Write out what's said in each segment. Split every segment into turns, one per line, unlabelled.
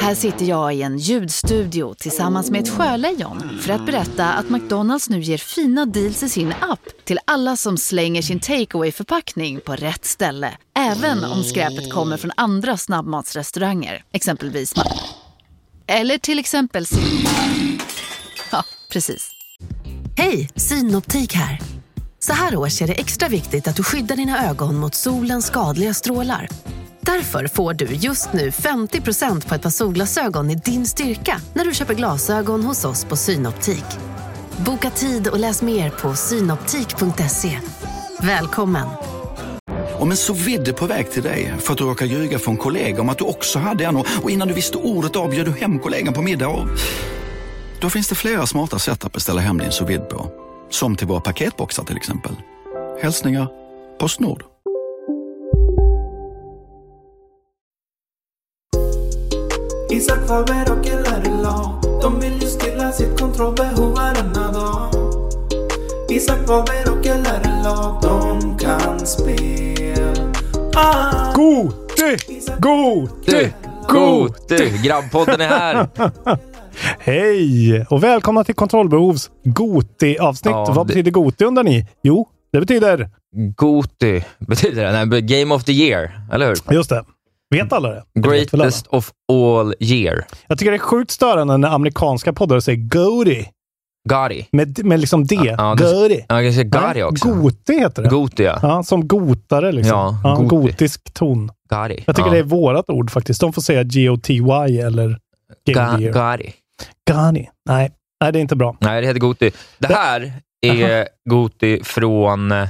Här sitter jag i en ljudstudio tillsammans med ett sjölejon för att berätta att McDonalds nu ger fina deals i sin app till alla som slänger sin takeaway förpackning på rätt ställe. Även om skräpet kommer från andra snabbmatsrestauranger, exempelvis Ma- Eller till exempel Sim- Ja, precis.
Hej, Synoptik här. Så här års är det extra viktigt att du skyddar dina ögon mot solens skadliga strålar. Därför får du just nu 50% på ett par solglasögon i din styrka när du köper glasögon hos oss på Synoptik. Boka tid och läs mer på synoptik.se. Välkommen!
Om en så vidde på väg till dig för att du råkar ljuga från kollega om att du också hade en och och innan du visste ordet av bjöd du hem kollegan på middag och... Då finns det flera smarta sätt att beställa hem din sous vide på. Som till våra paketboxar till exempel. Hälsningar Postnord.
Isak Faber och LRLA De vill ju stilla sitt kontrollbehov varenda dag Isak Faber och LRLA De kan spel ah.
Gode! Gode!
God du! Grabbpodden är här!
Hej och välkomna till Kontrollbehovs Goti-avsnitt.
Ja,
Vad
det-
betyder Goti undrar ni? Jo, det betyder...
Goti betyder det. Nej, Game of the year, eller hur?
Just det. Vet alla det? Det vet väl alla.
Greatest of all year.
Jag tycker det är sjukt störande när amerikanska poddar säger Goti.
Gari.
Med, med liksom D.
ja, det-
Goti.
Ja, jag kan säga
Nej,
Gari också.
Goti heter det.
Goti, ja.
Ja, som gotare liksom.
Ja,
ja,
goti.
gotisk ton.
Gari.
Jag tycker
ja.
det är vårat ord faktiskt. De får säga G-O-T-Y eller Game of the
Ga-
Year.
Gari.
Gani. Nej. Nej, det är inte bra.
Nej, det heter Goti. Det här är Goti från eh,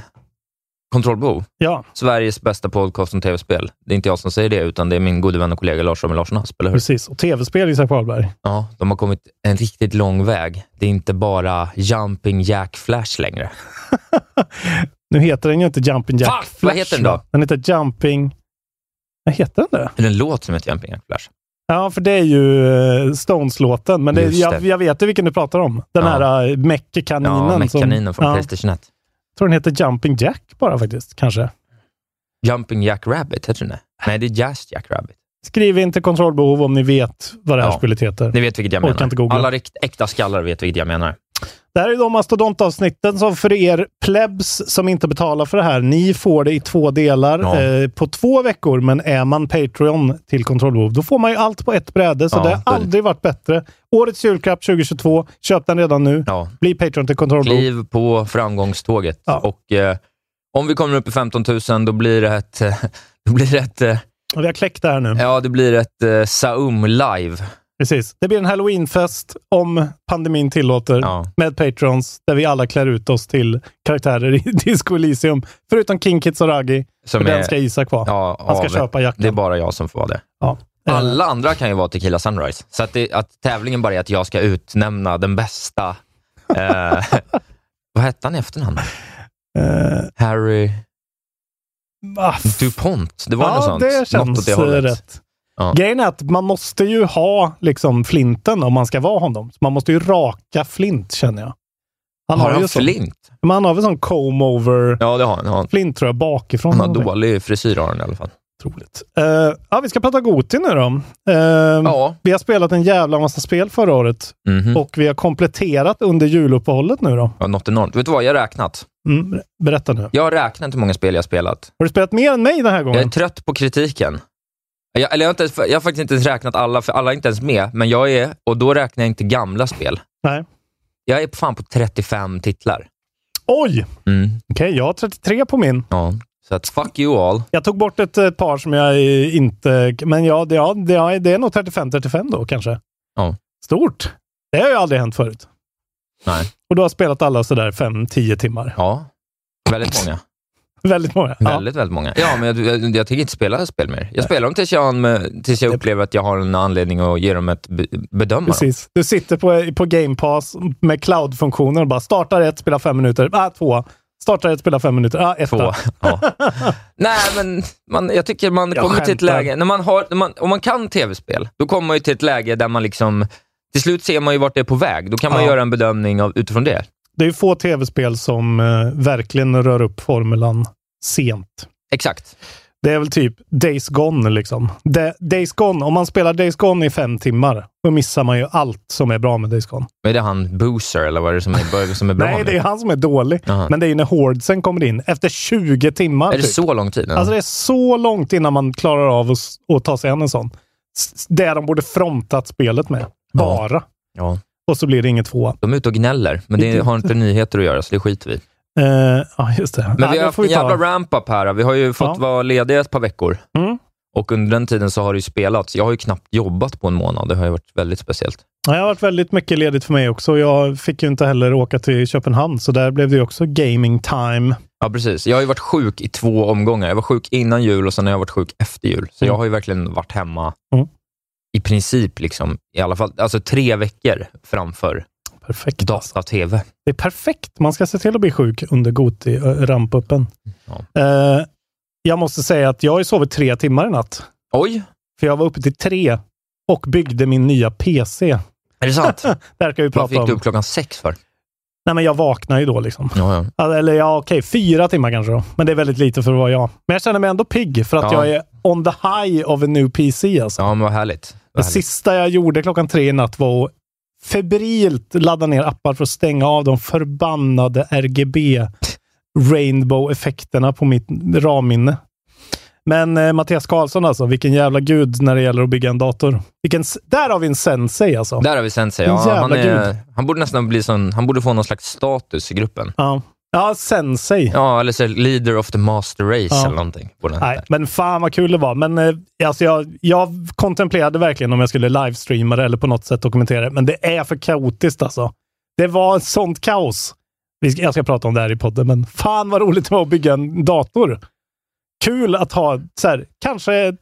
Kontrollbehov.
Ja,
Sveriges bästa podcast om tv-spel. Det är inte jag som säger det, utan det är min gode vän och kollega Lars Samuel Larsson Asp, eller hur?
precis. Och tv-spel, Isak Wahlberg.
Ja, de har kommit en riktigt lång väg. Det är inte bara Jumping Jack Flash längre.
Nu heter den ju inte Jumping Jack
Fuck, vad heter den då?
va? Den heter Jumping... Vad heter den det?
Eller en låt som heter Jumping Jack Flash.
Ja, för det är ju eh, Stones-låten. Men det,
Just
jag,
det.
jag vet ju vilken du pratar om. Den
Ja.
här eh, Meck-kaninen.
Ja,
som-
Mekaninen från
ja,
Playstation 1.
Jag tror den heter Jumping Jack bara faktiskt, kanske.
Jumping Jack Rabbit, heter den det? Nej, det är Just Jack Rabbit.
Skriv in till kontrollbehov om ni vet vad det här
Ja.
spelet heter.
Ni vet vilket jag
Orkar inte
menar.
googla.
Alla rikt- äkta skallar vet vilket jag menar.
Det här är de mastodontavsnitten som för er plebs som inte betalar för det här, ni får det i två delar
Ja.
eh, på två veckor. Men är man Patreon till Kontrollbehov, då får man ju allt på ett bräde. Så
Ja,
det har
det-
aldrig varit bättre. Årets julklapp 2022. Köp den redan nu.
Ja.
Bli Patreon till Kontrollbehov.
Kliv på framgångståget.
Ja.
Och eh, om vi kommer upp i 15 000, då blir det ett... eh, Då blir det ett, eh,
Och Vi har kläckt det här nu.
ja, det blir ett eh, Saum live.
Precis. Det blir en halloweenfest om pandemin tillåter.
Ja.
Med Patrons, där vi alla klär ut oss till karaktärer i Disco Elysium. Förutom King Kids och Raggi.
Som
Och den ska Isak vara.
ja,
Han ska
av-
köpa jackan. Eh,
Det är bara jag som får vara det.
Ja.
Alla andra kan ju vara Tequila Sunrise, så att, det, att tävlingen bara är att jag ska utnämna den bästa... Eh, vad hette han i efternamn?
Eh,
Harry
ah,
DuPont? Det var något sånt.
det
något
känns eh,
åt det hållet.
rätt.
Ja.
Grejen är att man måste ju ha liksom flinten om man ska vara honom. Man måste ju raka flint, känner jag. Han
har
ju
han
sån-
flint?
Men han har väl sån comb-over
Ja, det har han. Han,
flint, tror jag, bakifrån.
han har
eller någonting.
dålig frisyr har han i alla fall.
Otroligt. Eh, ja, vi ska prata Goti nu då. Eh,
Ja.
Vi har spelat en jävla massa spel förra året
Mhm.
och vi har kompletterat under juluppehållet nu då.
ja, något enormt. Vet du vad? Jag har räknat.
Mm, berätta nu.
Jag har räknat hur många spel jag har spelat.
Har du spelat mer än mig den här
Jag är
gången?
trött på kritiken. Jag, eller jag, har inte ens, jag har faktiskt inte ens räknat alla, för alla är inte ens med. Men jag är, och då räknar jag inte gamla spel.
Nej.
Jag är fan på 35 titlar.
Oj!
Mm.
Okej, jag har 33 på min.
Ja, så att fuck you all.
Jag tog bort ett eh, par som jag eh, inte... Men ja, det, ja, det, ja, det är nog 35-35 då kanske.
Ja.
Stort! Det har ju aldrig hänt förut.
Nej.
Och du har spelat alla sådär 5-10 timmar.
Ja, väldigt många.
Väldigt många. Ja.
Väldigt, väldigt många. Ja, men jag, jag, jag tänker inte spela spel mer. Jag spelar dem tills jag, har en- tills jag upplever att jag har en anledning att ge dem ett be- bedöma. dem.
Precis. Du sitter på, på Game Pass med cloud-funktioner och bara startar ett, spelar fem minuter. Ah, två. Startar ett, spelar fem minuter. Ah, ett.
Två. Ja. Nej, men man, jag tycker man
Jag
kommer till ett
skämtar.
läge, när man har, när man, om man kan tv-spel, då kommer man ju till ett läge där man liksom, till slut ser man ju vart det är på väg. Då kan man
Ja.
göra en bedömning av, utifrån det.
Det är ju få tv-spel som eh, verkligen rör upp formulan sent.
Exakt.
Det är väl typ Days Gone liksom. De, Days Gone, om man spelar Days Gone i fem timmar, då missar man ju allt som är bra med Days Gone.
Men Är det han Boozer eller vad är det som är, som är bra
Nej,
nu?
det är han som är dålig.
Jaha.
Men det är ju när Hordsen kommer in, efter 20 timmar.
Är det
typ.
så lång tid? Ja.
Alltså det är så långt innan man klarar av att, s- att ta sig an en sån. S- Det de borde frontat spelet med. Bara.
ja.
Och så blir det inget tvåa.
De är ute och gnäller, men det har inte nyheter att göra, så det skiter vi i.
Eh, ja, just det.
Men vi
det
har haft
får
en
vi ta.
jävla ramp-up här. Vi har ju fått
Ja.
vara lediga ett par veckor.
Mm.
Och under den tiden så har det ju spelats. Jag har ju knappt jobbat på en månad. Det har ju varit väldigt speciellt.
Ja, Det har varit väldigt mycket ledigt för mig också. Jag fick ju inte heller åka till Köpenhamn, så där blev det ju också gaming time.
Ja, precis. Jag har ju varit sjuk i två omgångar. Jag var sjuk innan jul och sen har jag varit sjuk efter jul. Så jag har ju verkligen varit hemma
Mm.
i princip, liksom, i alla fall alltså tre veckor framför
Perfekt.
data-tv.
Det är perfekt. Man ska se till att bli sjuk under Goti-rampuppen.
Ja.
Eh, jag måste säga att jag har ju sovit tre timmar i natt.
Oj,
För jag var uppe till tre och byggde min nya PC.
är det sant?
Det här kan vi
Vad
prata
fick du
om.
upp klockan sex för?
Nej, men jag vaknar ju då liksom.
Ja, ja.
Alltså, Eller ja, okej, fyra timmar kanske då. Men det är väldigt lite för att vara jag. Men jag känner mig ändå pigg för att
Ja.
jag är on the high of a new PC alltså.
ja men vad härligt.
Det
Vad härligt.
sista jag gjorde klockan tre i natt var att febrilt ladda ner appar för att stänga av de förbannade RGB Rainbow-effekterna på mitt RAM-minne. Men eh, Mattias Karlsson alltså, vilken jävla gud när det gäller att bygga en dator. Vilken, s- där har vi en sensei alltså.
Där har vi sensei.
En jävla
Ja, han,
gud.
är, han borde nästan bli sån, han borde få någon slags status i gruppen.
Ja. ja, sensei.
Ja, eller så leader of the master race
Ja.
eller någonting. På den
Nej,
där.
men fan vad kul det var. Men eh, alltså jag, jag kontemplerade verkligen om jag skulle livestreama det eller på något sätt dokumentera det. Men det är för kaotiskt alltså. Det var ett sånt kaos. Vi ska, jag ska prata om det här i podden, men fan vad roligt det var att bygga en dator. Kul att ha, så här, kanske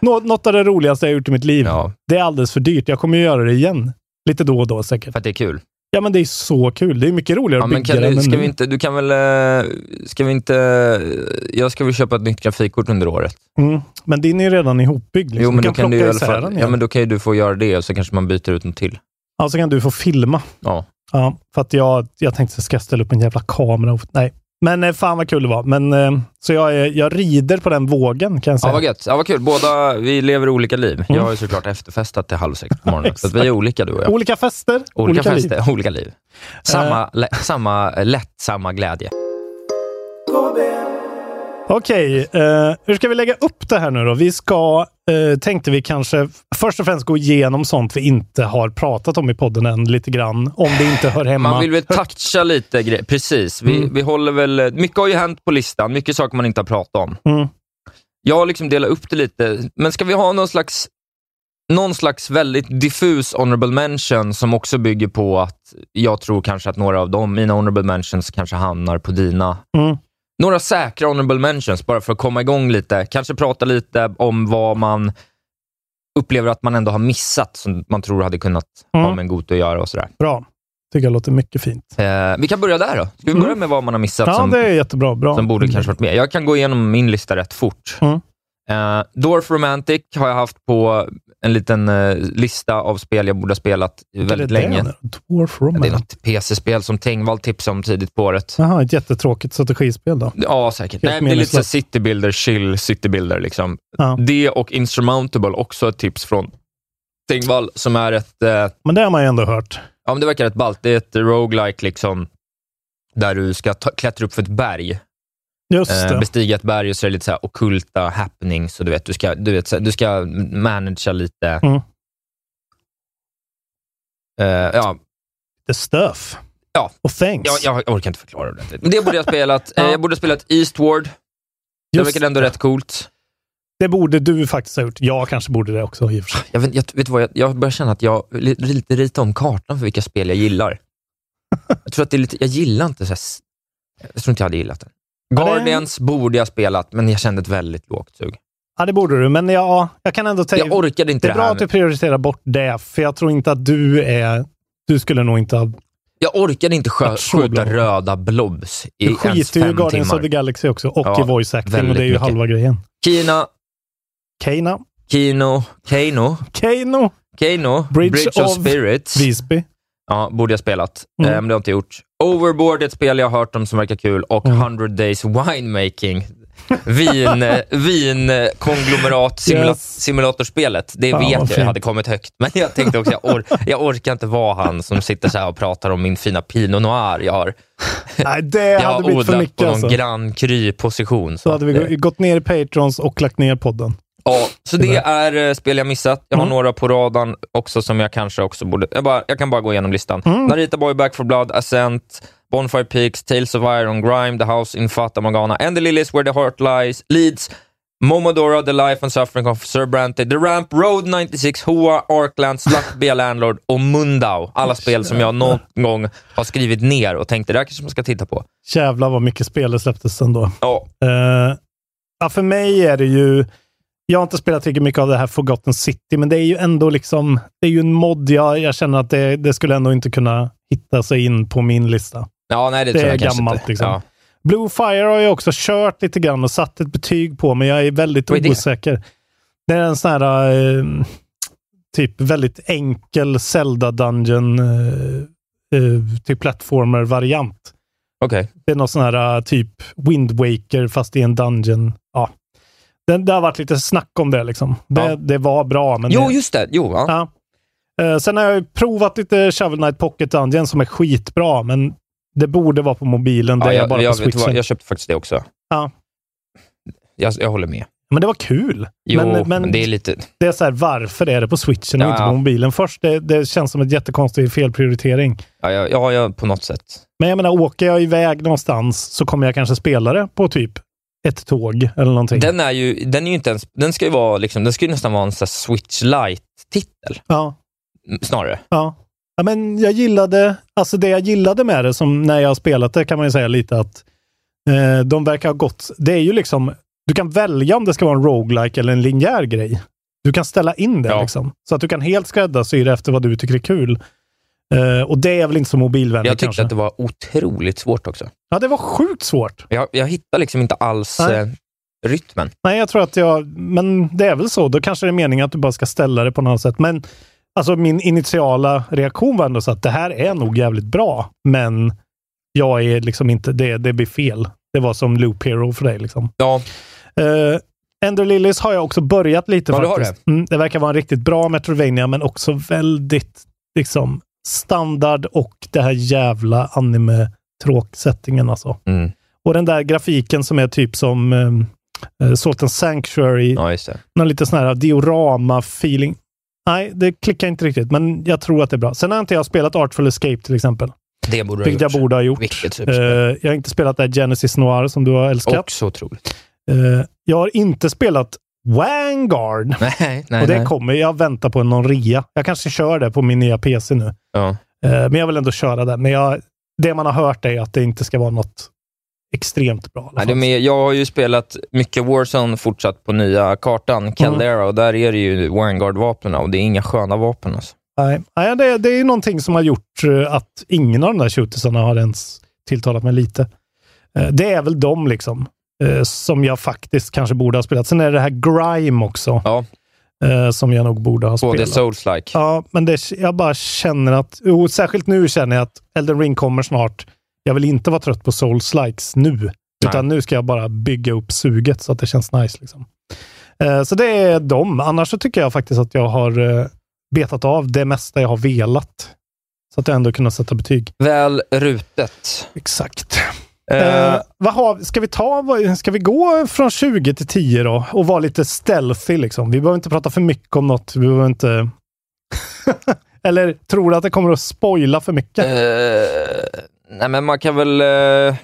nå- något av det roligaste jag gjort i mitt liv.
Ja,
Det är alldeles för dyrt. Jag kommer ju göra det igen. Lite då och då säkert.
för att det är kul.
Ja, men det är så kul. Det är mycket roligare
Ja,
att
men
bygga
kan
den
du,
än
ska
nu.
vi inte, du kan väl, eh, ska vi inte, jag ska väl köpa ett nytt grafikkort under året.
Mm. Men din är ju redan ihopbyggd. Liksom.
Jo, men då kan du
plocka
i alla
isär den
fall, ja,
igen.
men då kan ju du få göra det och så kanske man byter ut något till.
Ja, så kan du få filma.
Ja.
Ja, för att jag, jag tänkte, ska jag ställa upp en jävla kamera? Och, nej. Men eh, fan vad kul det var. Men, eh, så jag, är- jag rider på den vågen kan jag
Ja,
säga.
vad gött. Ja, vad kul. Båda, vi lever olika liv.
Mm.
Jag har ju såklart efterfestat till halv sex på morgonen, så att vi är olika du och jag.
olika fester,
Olika,
liv. Eh.
fester, olika liv. Samma, lä, samma lätt, samma glädje.
Okej, eh, hur ska vi lägga upp det här nu då? Vi ska, eh, tänkte vi kanske först och främst gå igenom sånt vi inte har pratat om i podden än lite grann. Om det inte hör hemma. Mm.
Man vill väl toucha lite grejer. Precis. Vi, vi håller väl, mycket har ju hänt på listan. Mycket saker man inte har pratat om.
Mm.
Jag har liksom delat upp det lite. Men ska vi ha någon slags, någon slags väldigt diffus honorable mention som också bygger på att jag tror kanske att några av dem, mina honorable mentions kanske hamnar på dina.
Mm.
Några säkra honorable mentions bara för att komma igång lite. Kanske prata lite om vad man upplever att man ändå har missat som man tror hade kunnat ha
Mm.
med en god att göra och sådär.
Bra. Tycker jag låter mycket fint.
Eh, vi kan börja där då. Ska vi börja med vad man har missat
Ja,
som,
Mm. det är jättebra. Bra.
som borde kanske varit med? Jag kan gå igenom min lista rätt fort.
Mm.
Eh, Dwarf Romantic har jag haft på en liten eh, lista av spel jag borde ha spelat
Är det
väldigt
det?
länge.
Dwarf
Det är
Romance.
något PC-spel som Tengvall tipsade om tidigt på året.
Jaha, ett jättetråkigt strategispel då.
Ja, säkert.
Helt
Nej, men det är lite så här
meningslöst.
citybuilder, chill citybuilder. Liksom.
Ja.
Det och Insurmountable, också ett tips från Tengvall, som är ett eh,
Men det har man ju ändå hört.
Ja, men det verkar rätt ballt. Det är ett roguelike liksom, där du ska ta, klättra upp för ett berg,
Just
eh,
det.
bestiga ett berg och så är det lite så här ockulta happenings. Och du, vet, du, ska, du, vet, så här, du ska managea lite.
Mm.
Eh, ja,
the stuff.
Ja.
Och thanks.
jag, jag orkar inte förklara det ordentligt. Men det borde jag ha spelat.
Ja.
Eh, jag borde ha spelat Eastward. Det
Just
verkar ändå
det.
rätt coolt.
Det borde du faktiskt ha gjort. Jag kanske borde det också i och för sig.
Jag, vet, jag, vet du vad, jag, jag börjar känna att jag li- lite ritar om kartan för vilka spel jag gillar. Jag tror att det är lite, jag gillar inte så här, s- Jag tror inte jag hade gillat den.
Ja, det-
Guardians borde jag spelat, men jag kände ett väldigt lågt sug.
Ja, det borde du. Men ja, jag kan ändå
Jag
tänka...
orkade inte
Det
det,
är bra
här.
att du prioriterar bort det, för jag tror inte att du är... Du skulle nog inte ha...
Jag orkade inte skö,
Vart så bra.
skjuta röda blobs i
Du
ens
skiter ju i
fem
Guardians of the
timmar.
Galaxy också och
Ja,
i voice acting och
väldigt
det är ju
mycket.
halva grejen.
Kina,
Keina.
Kino, Kano,
Keino.
Kano,
Bridge
Bridge, of,
of
Spirits.
Visby.
Ja, borde jag spelat,
Mm.
Eh,
Mm.
men det har jag inte gjort. Overboard är ett spel jag har hört om som verkar kul och 100 Days Winemaking. vin, vin konglomerat simula-
Yes.
simulatorspelet. Det
Fan,
vet
vad
jag, jag
fint.
hade kommit högt. Men jag tänkte också, jag, or- jag orkar inte vara han som sitter så här och pratar om min fina Pinot Noir jag har.
Nej, det
Jag
hade
har
blivit för
odlat på
mycket
någon
alltså.
Grand Cru-position.
Så hade vi gå- gått ner i Patrons och lagt ner podden.
Ja, så det är eh, spel jag missat. Jag har
Mm.
några på radarn också som jag kanske också borde... Jag, bara, jag kan bara gå igenom listan.
Mm.
Narita Boy, Back for Blood, Ascent, Bonfire Peaks, Tales of Iron, Grime, The House in Fata Morgana, And the Lilies Where the Heart Lies, Leeds, Momodora, The Life and Suffering of Sir Brante, The Ramp, Road 96, Hoa, Arkland, Slack, Bea Landlord och Mundau. Alla spel som jag någon gång har skrivit ner och tänkte det här kanske man ska titta på.
Jävlar vad mycket spel det släpptes ändå.
Ja,
Eh, ja, för mig är det ju... Jag har inte spelat tillräckligt mycket av det här Forgotten City, men det är ju ändå liksom... Det är ju en mod. Jag, jag känner att det, det skulle ändå inte kunna hitta sig in på min lista.
ja nej det,
Det
tror
är
jag kanske
gammalt,
inte.
liksom.
Ja.
Blue Fire har jag också kört lite grann och satt ett betyg på, men jag är väldigt
Vad är det?
osäker. Det är en sån här eh, typ väldigt enkel Zelda-dungeon, eh, eh, typ plattformer-variant.
Okej.
Det är någon sån här äh, typ Wind Waker fast i en dungeon. Ja. Det, det har varit lite snack om det liksom. Det,
Ja.
det var bra, men...
Jo,
det,
just det. Jo, ja.
ja. Eh, sen har jag ju provat lite Shovel Knight Pocket Dungeon som är skitbra, men det borde vara på mobilen. Det
Ja,
är
jag,
bara
jag,
på
vet
switchen.
vad, jag köpte faktiskt det också.
Ja.
Jag, jag håller med.
Men det var kul.
Jo,
men,
men,
men
det är lite...
det är så här, varför är det på switchen och
Ja,
inte
ja.
på mobilen först? Det, det känns som en jättekonstig felprioritering.
Ja, ja, ja, ja, på något sätt.
Men jag menar, åker jag iväg någonstans så kommer jag kanske spela det på typ ett tåg eller någonting.
Den är ju, den är ju inte ens... Den ska ju, vara, liksom, den ska ju nästan vara en sån här Switch Lite-titel,
Ja.
m- snarare.
Ja. ja, men jag gillade, alltså det jag gillade med det som när jag har spelat det kan man ju säga lite att eh, de verkar ha gått, det är ju liksom, du kan välja om det ska vara en roguelike eller en linjär grej. Du kan ställa in det
Ja.
liksom. Så att du kan helt skräddarsyra efter vad du tycker är kul. Eh, och det är väl inte så
Jag
mobilvänligt
tyckte
kanske.
att det var otroligt svårt också.
Ja, det var sjukt svårt.
Jag, jag hittar liksom inte alls
Nej.
eh, rytmen.
Nej, jag tror att jag... Men det är väl så. Då kanske det är meningen att du bara ska ställa det på något sätt. Men alltså min initiala reaktion var ändå så att det här är nog jävligt bra, men jag är liksom inte... Det, det blir fel. Det var som Loop Hero för dig liksom.
Ja,
Uh, Ender Lilies har jag också börjat lite
Ja, du har
faktiskt. det. Mm, det verkar vara en riktigt bra Metroidvania, men också väldigt liksom standard och det här jävla anime-tråksättningen alltså.
mm.
Och den där grafiken som är typ som um, Salt and Sanctuary,
ja just det.
någon lite sån här diorama-feeling. Nej, det klickar inte riktigt, men jag tror att det är bra. Sen har inte jag spelat Artful Escape till exempel,
Det borde du ha
vilket jag
gjort.
borde ha gjort.
Vilket
Eh,
superspel.
jag har inte spelat det här Genesis Noir som du har älskat.
Också otroligt.
Eh, jag har inte spelat Vanguard.
Nej, nej,
och det
nej.
kommer, jag väntar på någon rea. Jag kanske kör det på min nya PC nu.
Ja.
Eh, men jag vill ändå köra det. Men jag, det man har hört är att det inte ska vara något extremt bra. i alla
Nej,
fall.
de är, jag har ju spelat mycket Warzone fortsatt på nya
Mhm.
kartan, Caldera, och där är det ju Vanguard-vapnen och det är inga sköna vapen. Alltså.
Nej, nej det, det är ju någonting som har gjort eh, att ingen av de där shootersarna har ens tilltalat mig lite. Eh, Det är väl de liksom, eh, som jag faktiskt kanske borde ha spelat. Sen är det det här Grime också,
Ja,
eh, som jag nog borde ha
både
spelat.
Souls-like.
Ja, men det, jag bara känner att, och särskilt nu känner jag att Elden Ring kommer snart. Jag vill inte vara trött på Souls-likes nu, utan nu ska jag bara bygga upp suget så att det känns nice. Liksom. Eh, så det är dem. Annars så tycker jag faktiskt att jag har eh, betat av det mesta jag har velat. Så att jag ändå kunnat sätta betyg.
Väl rutet.
Exakt.
Eh,
Eh, vad har, vi- ska, vi ta, vad- ska vi gå från 20 till 10 då och vara lite stealthy? Liksom? Vi behöver inte prata för mycket om något. Vi behöver inte... Eller tror du att det kommer att spoila för mycket?
eh, nej, men man kan väl... Eh,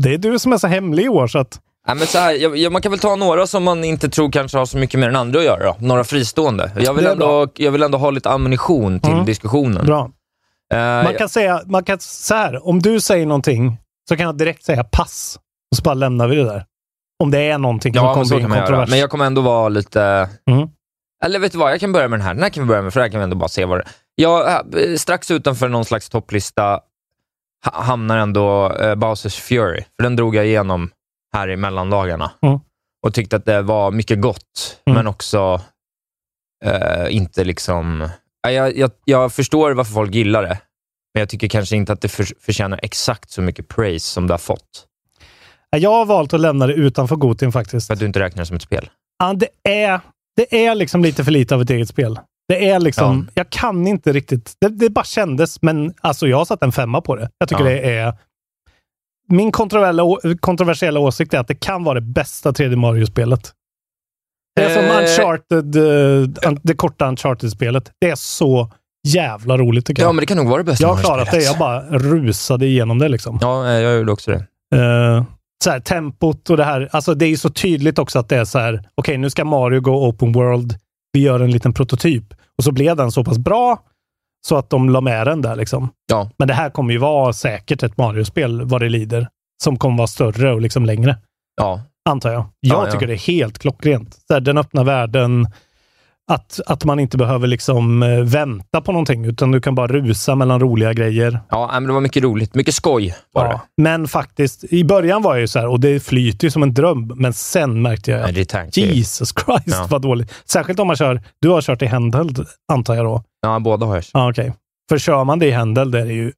Det är du som är så hemlig i år. Så att,
nej, men så här, ja, ja, man kan väl ta några som man inte tror kanske har så mycket med den andra att göra. Då. Några fristående. Jag vill,
Det är
ändå, jag vill ändå ha lite ammunition till
Mm.
diskussionen.
bra.
Eh,
Man kan säga man kan, så här, om du säger någonting så kan jag direkt säga pass och så bara lämnar vi det där. Om det är någonting som
ja,
kommer
men så
bli en
kan man göra.
kontrovers.
Men jag kommer ändå vara lite...
Mm.
Eller vet du vad, jag kan börja med den här. Den här kan vi börja med, för här kan vi ändå bara se vad det jag, eh, Strax utanför någon slags topplista ha- hamnar ändå eh, Bowsers Fury, för den drog jag igenom här i mellandagarna.
Mm.
Och tyckte att det var mycket gott,
Mm.
men också eh, inte liksom... Ja, Jag, jag, jag förstår varför folk gillar det, men jag tycker kanske inte att det för, förtjänar exakt så mycket praise som det har fått.
Nej, Jag har valt att lämna det utanför Gotin faktiskt.
För att du inte räknar det som ett spel.
Ja, det, är, det är liksom lite för lite av ett eget spel. Det är liksom, jag kan inte riktigt, det, det bara kändes, men alltså jag har satt en femma på det. Jag tycker
Ja.
det är, min kontroversiella, å- kontroversiella åsikt är att det kan vara det bästa 3D Mario-spelet. Det är som
Eh.
Uncharted, eh, un- det korta Uncharted-spelet. Det är så jävla roligt tycker
Ja,
jag.
men det kan nog vara det bästa
jag har
Mario-spelet.
klarat det, jag bara rusade igenom det liksom.
Ja, eh, jag gjorde också det.
Eh, så här, tempot och det här. Alltså det är ju så tydligt också att det är så här, okej nu ska Mario gå open world. Vi gör en liten prototyp. Och så blev den så pass bra så att de la med den där liksom.
Ja.
Men det här kommer ju vara säkert ett Mario-spel vad det lider. Som kommer vara större och liksom längre.
Ja,
Antar jag. Jag
Ja, ja.
tycker det är helt klockrent. Så här, den öppna världen, att, att man inte behöver liksom eh, vänta på någonting, utan du kan bara rusa mellan roliga grejer.
ja nej, men det var mycket roligt. Mycket skoj var det.
Ja, men faktiskt, i början var jag ju så här, och det flyter ju som en dröm, men sen märkte jag
Men
att
det är tanke.
Jesus Christ
Ja.
vad dåligt. Särskilt om man kör, du har kört i handheld antar jag då?
Ja, båda har jag.
Ja, okej. För kör man det i handheld är det ju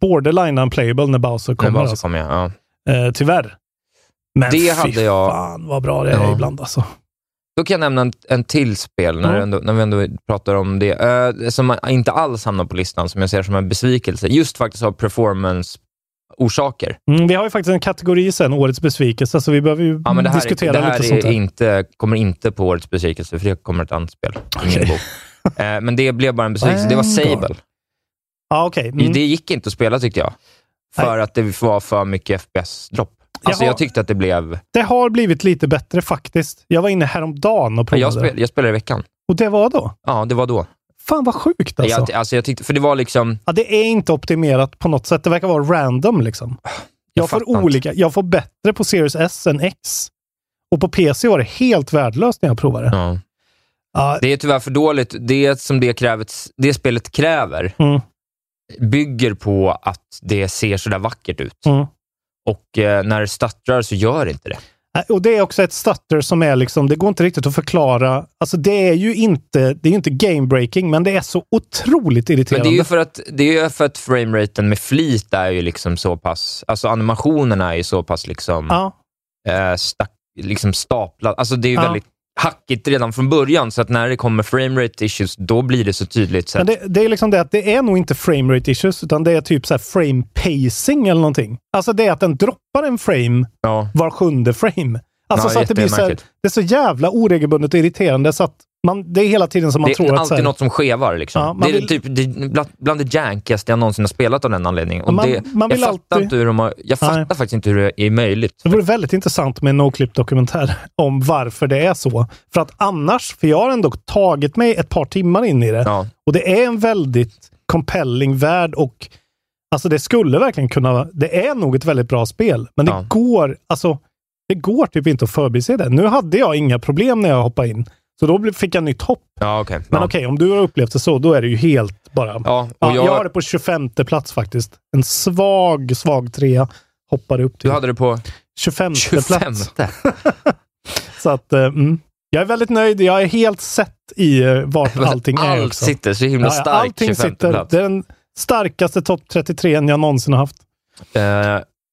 borderline unplayable när Bowser
Kommer
kommer.
bara så
alltså.
kommer jag. Ja.
eh, tyvärr. Men
Det
fy
hade jag-
fan vad bra det är
Ja.
ibland alltså.
Då kan jag nämna en, en till spel, när,
Ja.
du ändå, när vi ändå pratar om det, eh, som inte alls hamnar på listan, som jag ser som en besvikelse. Just faktiskt av performance-orsaker.
Mm, vi har ju faktiskt en kategori sen, årets besvikelse, så vi behöver ju
Ja, men det här,
Mm, diskutera
är, det här
lite
är
sånt där.
inte, kommer inte på årets besvikelse, för det kommer ett annat spel i min
Okej.
bok. Eh, men det blev bara en besvikelse. Det var
Vanguard.
Sable.
Ja, okej. Mm.
Det gick inte att spela tyckte jag. För att det var för mycket FPS-dropp. Alltså
Jaha.
jag tyckte att det blev...
Det har blivit lite bättre faktiskt. Jag var inne häromdagen och provade.
Jag, spel, jag spelade i veckan.
Och det var då?
Ja, det var då.
Fan vad sjukt alltså.
Jag, alltså jag tyckte, för det var liksom...
Ja, det är inte optimerat på något sätt. Det verkar vara random liksom. Jag, får
fattar
olika. Jag får bättre på Series S än X. Och på PC var det helt värdelöst när jag provade.
Inte.
Ja.
Ja. Det är tyvärr för dåligt. Det som det, krävet, det spelet kräver
Mm.
bygger på att det ser sådär vackert ut.
Mm.
Och eh, när det stuttrar så gör det inte det.
Nej, Äh, Och det är också ett stutter som är liksom, det går inte riktigt att förklara. Alltså det är ju inte, det är ju inte game breaking, men det är så otroligt
Men
irriterande.
det är ju för att, det är ju för att frameraten med flit är ju liksom så pass, alltså animationerna är ju så pass liksom,
Ja,
eh, stack, liksom staplade. Alltså det är ju
Ja.
väldigt hackigt redan från början, så att när det kommer framerate issues, då blir det så tydligt. Så
men
att,
det, det är liksom det att det är nog inte frame rate issues, utan det är typ så här frame pacing eller någonting. Alltså det är att den droppar en frame
ja,
var sjunde frame. Alltså
Ja,
så att det blir så här,
jättemärkligt.
det är så jävla oregelbundet och irriterande så att man, det är hela tiden som man
det
tror
är
att så här,
alltid något som skevar. Liksom.
Ja, man
det är
vill-
typ, det är bland, bland det jankigaste jag någonsin har spelat av den anledningen. Och
Man-
det,
man vill
jag fattar,
alltid-
inte hur de har, jag
Nej.
fattar faktiskt inte hur det är möjligt.
det vore väldigt intressant med en NoClip-dokumentär om varför det är så. För att annars, för jag har ändå tagit mig ett par timmar in i det
Ja.
och det är en väldigt compelling värld och alltså det skulle verkligen kunna, det är nog ett väldigt bra spel, men det
Ja.
går, alltså det går typ inte att förbise det. Nu hade jag inga problem när jag hoppade in, så då blev- fick jag nytt hopp.
Ja, okej.
Men
ja.
okej, om du har upplevt det så, då är det ju helt bara...
Ja, och
Ja, jag...
jag-
har det på 25 plats faktiskt. En svag, svag trea hoppade upp till
Du hade det på
25
25.
plats. Så att, eh, mm. Jag är väldigt nöjd. Jag är helt sett i eh, vart allting är.
Allt
också.
sitter så himla
Ja,
starkt.
ja, allting
25
sitter.
plats.
Det är den starkaste topp 33 jag någonsin har haft.
Eh,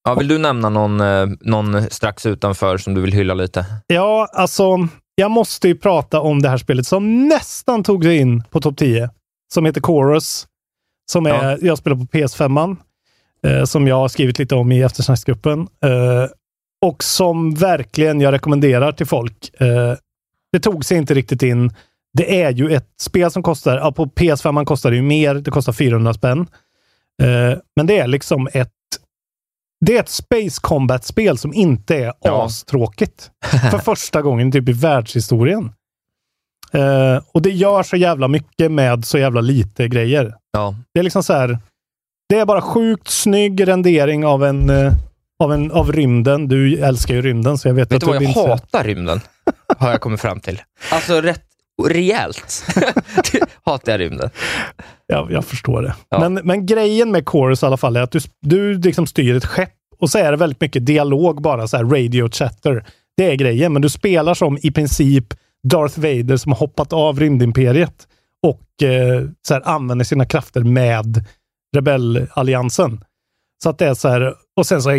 ja, vill du nämna någon, eh, någon strax utanför som du vill hylla lite?
Ja, alltså, jag måste ju prata om det här spelet som nästan tog sig in på topp 10. Som heter Chorus. Som är, jag spelar på PS5. Eh, som jag har skrivit lite om i eftersnacksgruppen. Eh, och som verkligen jag rekommenderar till folk. Eh, det tog sig inte riktigt in. Det är ju ett spel som kostar, ja, på PS5 kostar det ju mer, det kostar 400 spänn. Eh, men det är liksom ett det är ett Space Combat-spel som inte är
Ja.
astråkigt. För första gången typ i världshistorien. Eh, och det gör så jävla mycket med så jävla lite grejer.
Ja.
Det är liksom så här. Det är bara sjukt snygg rendering av en eh, av, en, av rymden. Du älskar ju rymden, så jag vet,
Vet
att
du
du
vad, jag
blir intresserad.
hatar rymden, har jag kommit fram till. Alltså rätt rejält hatar jag rymden.
Jag, jag förstår det.
Ja.
Men, men grejen med Chorus i alla fall är att du, du liksom styr ett skepp och så är det väldigt mycket dialog bara, så här radio chatter. Det är grejen, men du spelar som i princip Darth Vader som har hoppat av rymdimperiet och eh, så här, använder sina krafter med rebellalliansen. Så att det är så här, Och sen så är,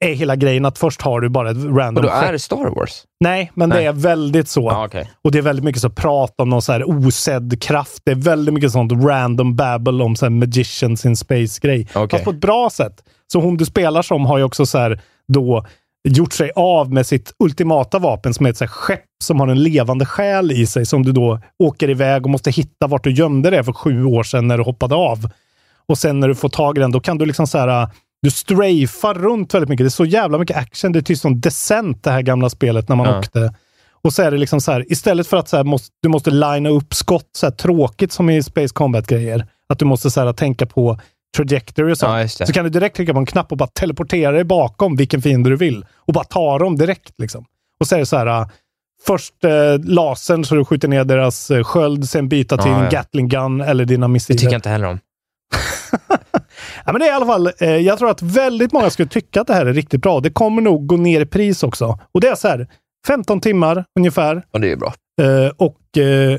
är hela grejen att först har du bara ett
Och
random
då är
skepp.
det Star Wars?
Nej, men
Nej.
det är väldigt så.
Ja, okej.
Och det är väldigt mycket så prat om någon så här osedd kraft. Det är väldigt mycket sånt random babble om så här magicians in space-grej.
Okej.
Fast på ett bra sätt. Så hon du spelar som har ju också så här då gjort sig av med sitt ultimata vapen som är ett så här skepp som har en levande själ i sig som du då åker iväg och måste hitta vart du gömde det för sju år sedan när du hoppade av. Och sen när du får tag i den, då kan du liksom så här... Du strafar runt väldigt mycket. Det är så jävla mycket action. Det är typ som Descent, det här gamla spelet, när man
Ja.
åkte. Och så är det liksom så här, istället för att så här, måste, du måste linea upp skott så här, tråkigt som i Space Combat-grejer, att du måste så här, äh, tänka på trajectory och sånt,
Ja, just det.
så kan du direkt trycka på en knapp och bara teleportera dig bakom vilken fiende du vill och bara ta dem direkt. Liksom. Och så är det så här, äh, först eh, lasern så du skjuter ner deras eh, sköld, sen byta till
Ja,
en
ja.
Gatling gun eller dina
Det tycker
missiler.
jag inte heller om.
Ja, men det är i alla fall, eh, jag tror att väldigt många skulle tycka att det här är riktigt bra. Det kommer nog gå ner i pris också. Och det är så här, 15 timmar ungefär.
Och det är ju bra.
Eh, och eh,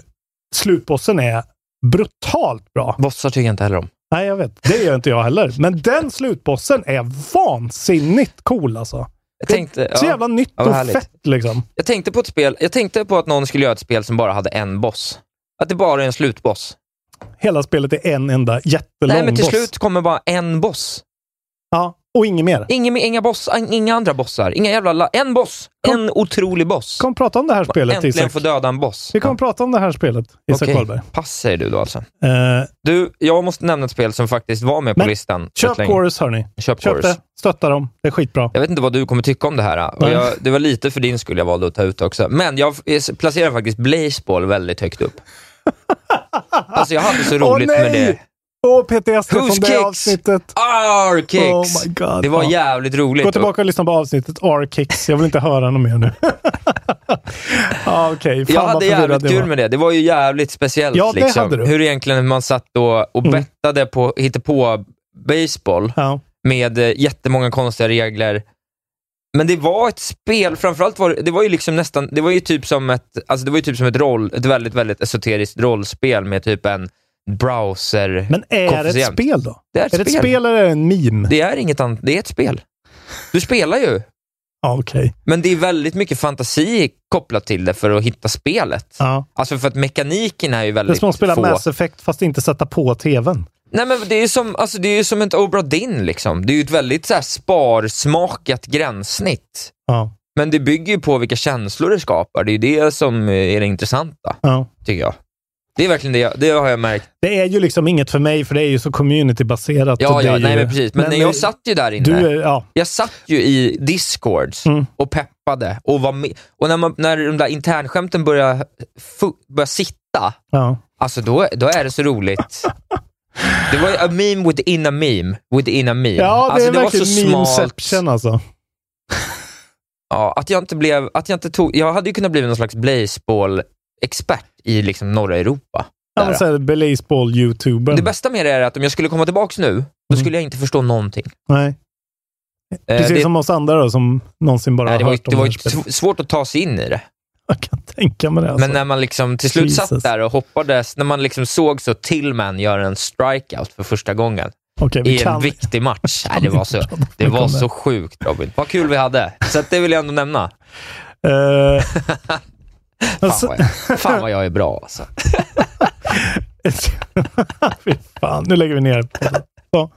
slutbossen är brutalt bra.
Bossar tycker jag inte heller om.
Nej, jag vet. Det gör inte jag heller. Men den slutbossen är vansinnigt cool alltså.
Jag tänkte,
Så
ja.
jävla nytt
Ja,
och
vad härligt.
fett liksom.
jag tänkte på ett spel, jag tänkte på att någon skulle göra ett spel som bara hade en boss. Att det bara är en slutboss.
Hela spelet är en enda jättelång
Nej, men till
boss.
slut kommer bara en boss.
Ja, och inget mer.
Inga, inga, boss, inga andra bossar. Inga jävla... La, en boss!
Kom.
En otrolig boss.
Vi kommer prata om det här spelet,
Äntligen
Isak.
få döda en boss.
Vi kommer prata om det här spelet,
Ja,
Isak
okej.
Wahlberg.
Pass säger du då alltså.
Eh,
Du, jag måste nämna ett spel som faktiskt var med på
Men,
listan. rätt
köp
länge.
Chorus, hörni.
Köp
Köp
Chorus.
det. Stötta dem. Det är skitbra.
Jag vet inte vad du kommer tycka om det här. Och
Nej.
jag, det var lite för din skull jag valde att ta ut också. Men jag f- placerar faktiskt Blazeball väldigt högt upp. Alltså jag hade så roligt
Åh, nej!
med det.
Åh, PTSD från
Who's
det
Kicks?
avsnittet.
R-kicks!
Oh my God.
det var
Ja.
jävligt roligt.
Gå tillbaka och lyssna på avsnittet R-Kicks. Jag vill inte höra något mer nu. ah, Okej,
Och
fan
Jag
vad
hade
förvirrad
jävligt
det
kul
var.
med det. Det var ju jävligt speciellt.
Ja, det
liksom.
hade du. Mm.
Hur egentligen man satt då och bettade på, hittade på baseball
Ja.
med eh, jättemånga konstiga regler. Men det var ett spel, framförallt var det, det var ju liksom nästan, det var ju typ som ett, alltså det var ju typ som ett roll, ett väldigt, väldigt esoteriskt rollspel med typ en browser.
Men är det ett
Koefficient.
spel då?
det är ett
Är det ett
spel.
spel eller är det en meme?
Det är inget annat, det är ett spel. Du spelar ju,
Ja, okej.
men det är väldigt mycket fantasi kopplat till det för att hitta spelet.
Ja.
Alltså för att mekaniken är
Det
ju
är
väldigt
som att spela
få.
Mass Effect fast inte sätta på tvn.
Nej men det är ju som, alltså det är ju som ett Obra Dinn liksom. Det är ju ett väldigt så här sparsmakat gränssnitt.
Ja.
Men det bygger ju på vilka känslor det skapar. Det är ju det som eh, är det intressanta,
ja.
tycker jag. Det är verkligen det, jag, det har jag märkt.
Det är ju liksom inget för mig, för det är ju så communitybaserat. och
Ja,
det är
ja, nej
ju...
men precis. Men, när jag satt ju där inne.
Du, är- ja.
Jag satt ju i discords
Mm.
och peppade och var med. Och när, man, när de där internskämten börjar, fu- börjar sitta,
ja.
alltså då, då är det så roligt. Det var ju a meme within a meme within a meme.
Ja, det
alltså,
är verkligen
smalt.
memeception alltså.
Ja, att jag inte blev, att jag inte tog, jag hade ju kunnat bli någon slags blazeball-expert i liksom norra Europa.
Ja,
Där.
men så här, Baseball-youtubern.
Det bästa med det är att om jag skulle komma tillbaka nu, då skulle jag inte förstå någonting.
Nej.
Eh,
Mm. Precis
det,
som oss andra då, som någonsin bara
nej, det
har
var, ju,
hört om
det var ju
här spelet.
sv- svårt att ta sig in i det.
Jag kan tänka mig det. Alltså.
Men när man liksom till slut
Jesus.
satt där och hoppades, när man liksom såg så Tillman göra en strikeout för första gången
Okej, vi
i en
kan.
viktig match. Nej, det var så, det
vi
var
kommer.
så sjukt Robin. Vad kul vi hade. Så att det vill jag ändå nämna.
Eh, men
Fan
så-
vad jag, fan vad jag är bra alltså.
Fy fan, nu lägger vi ner. Så,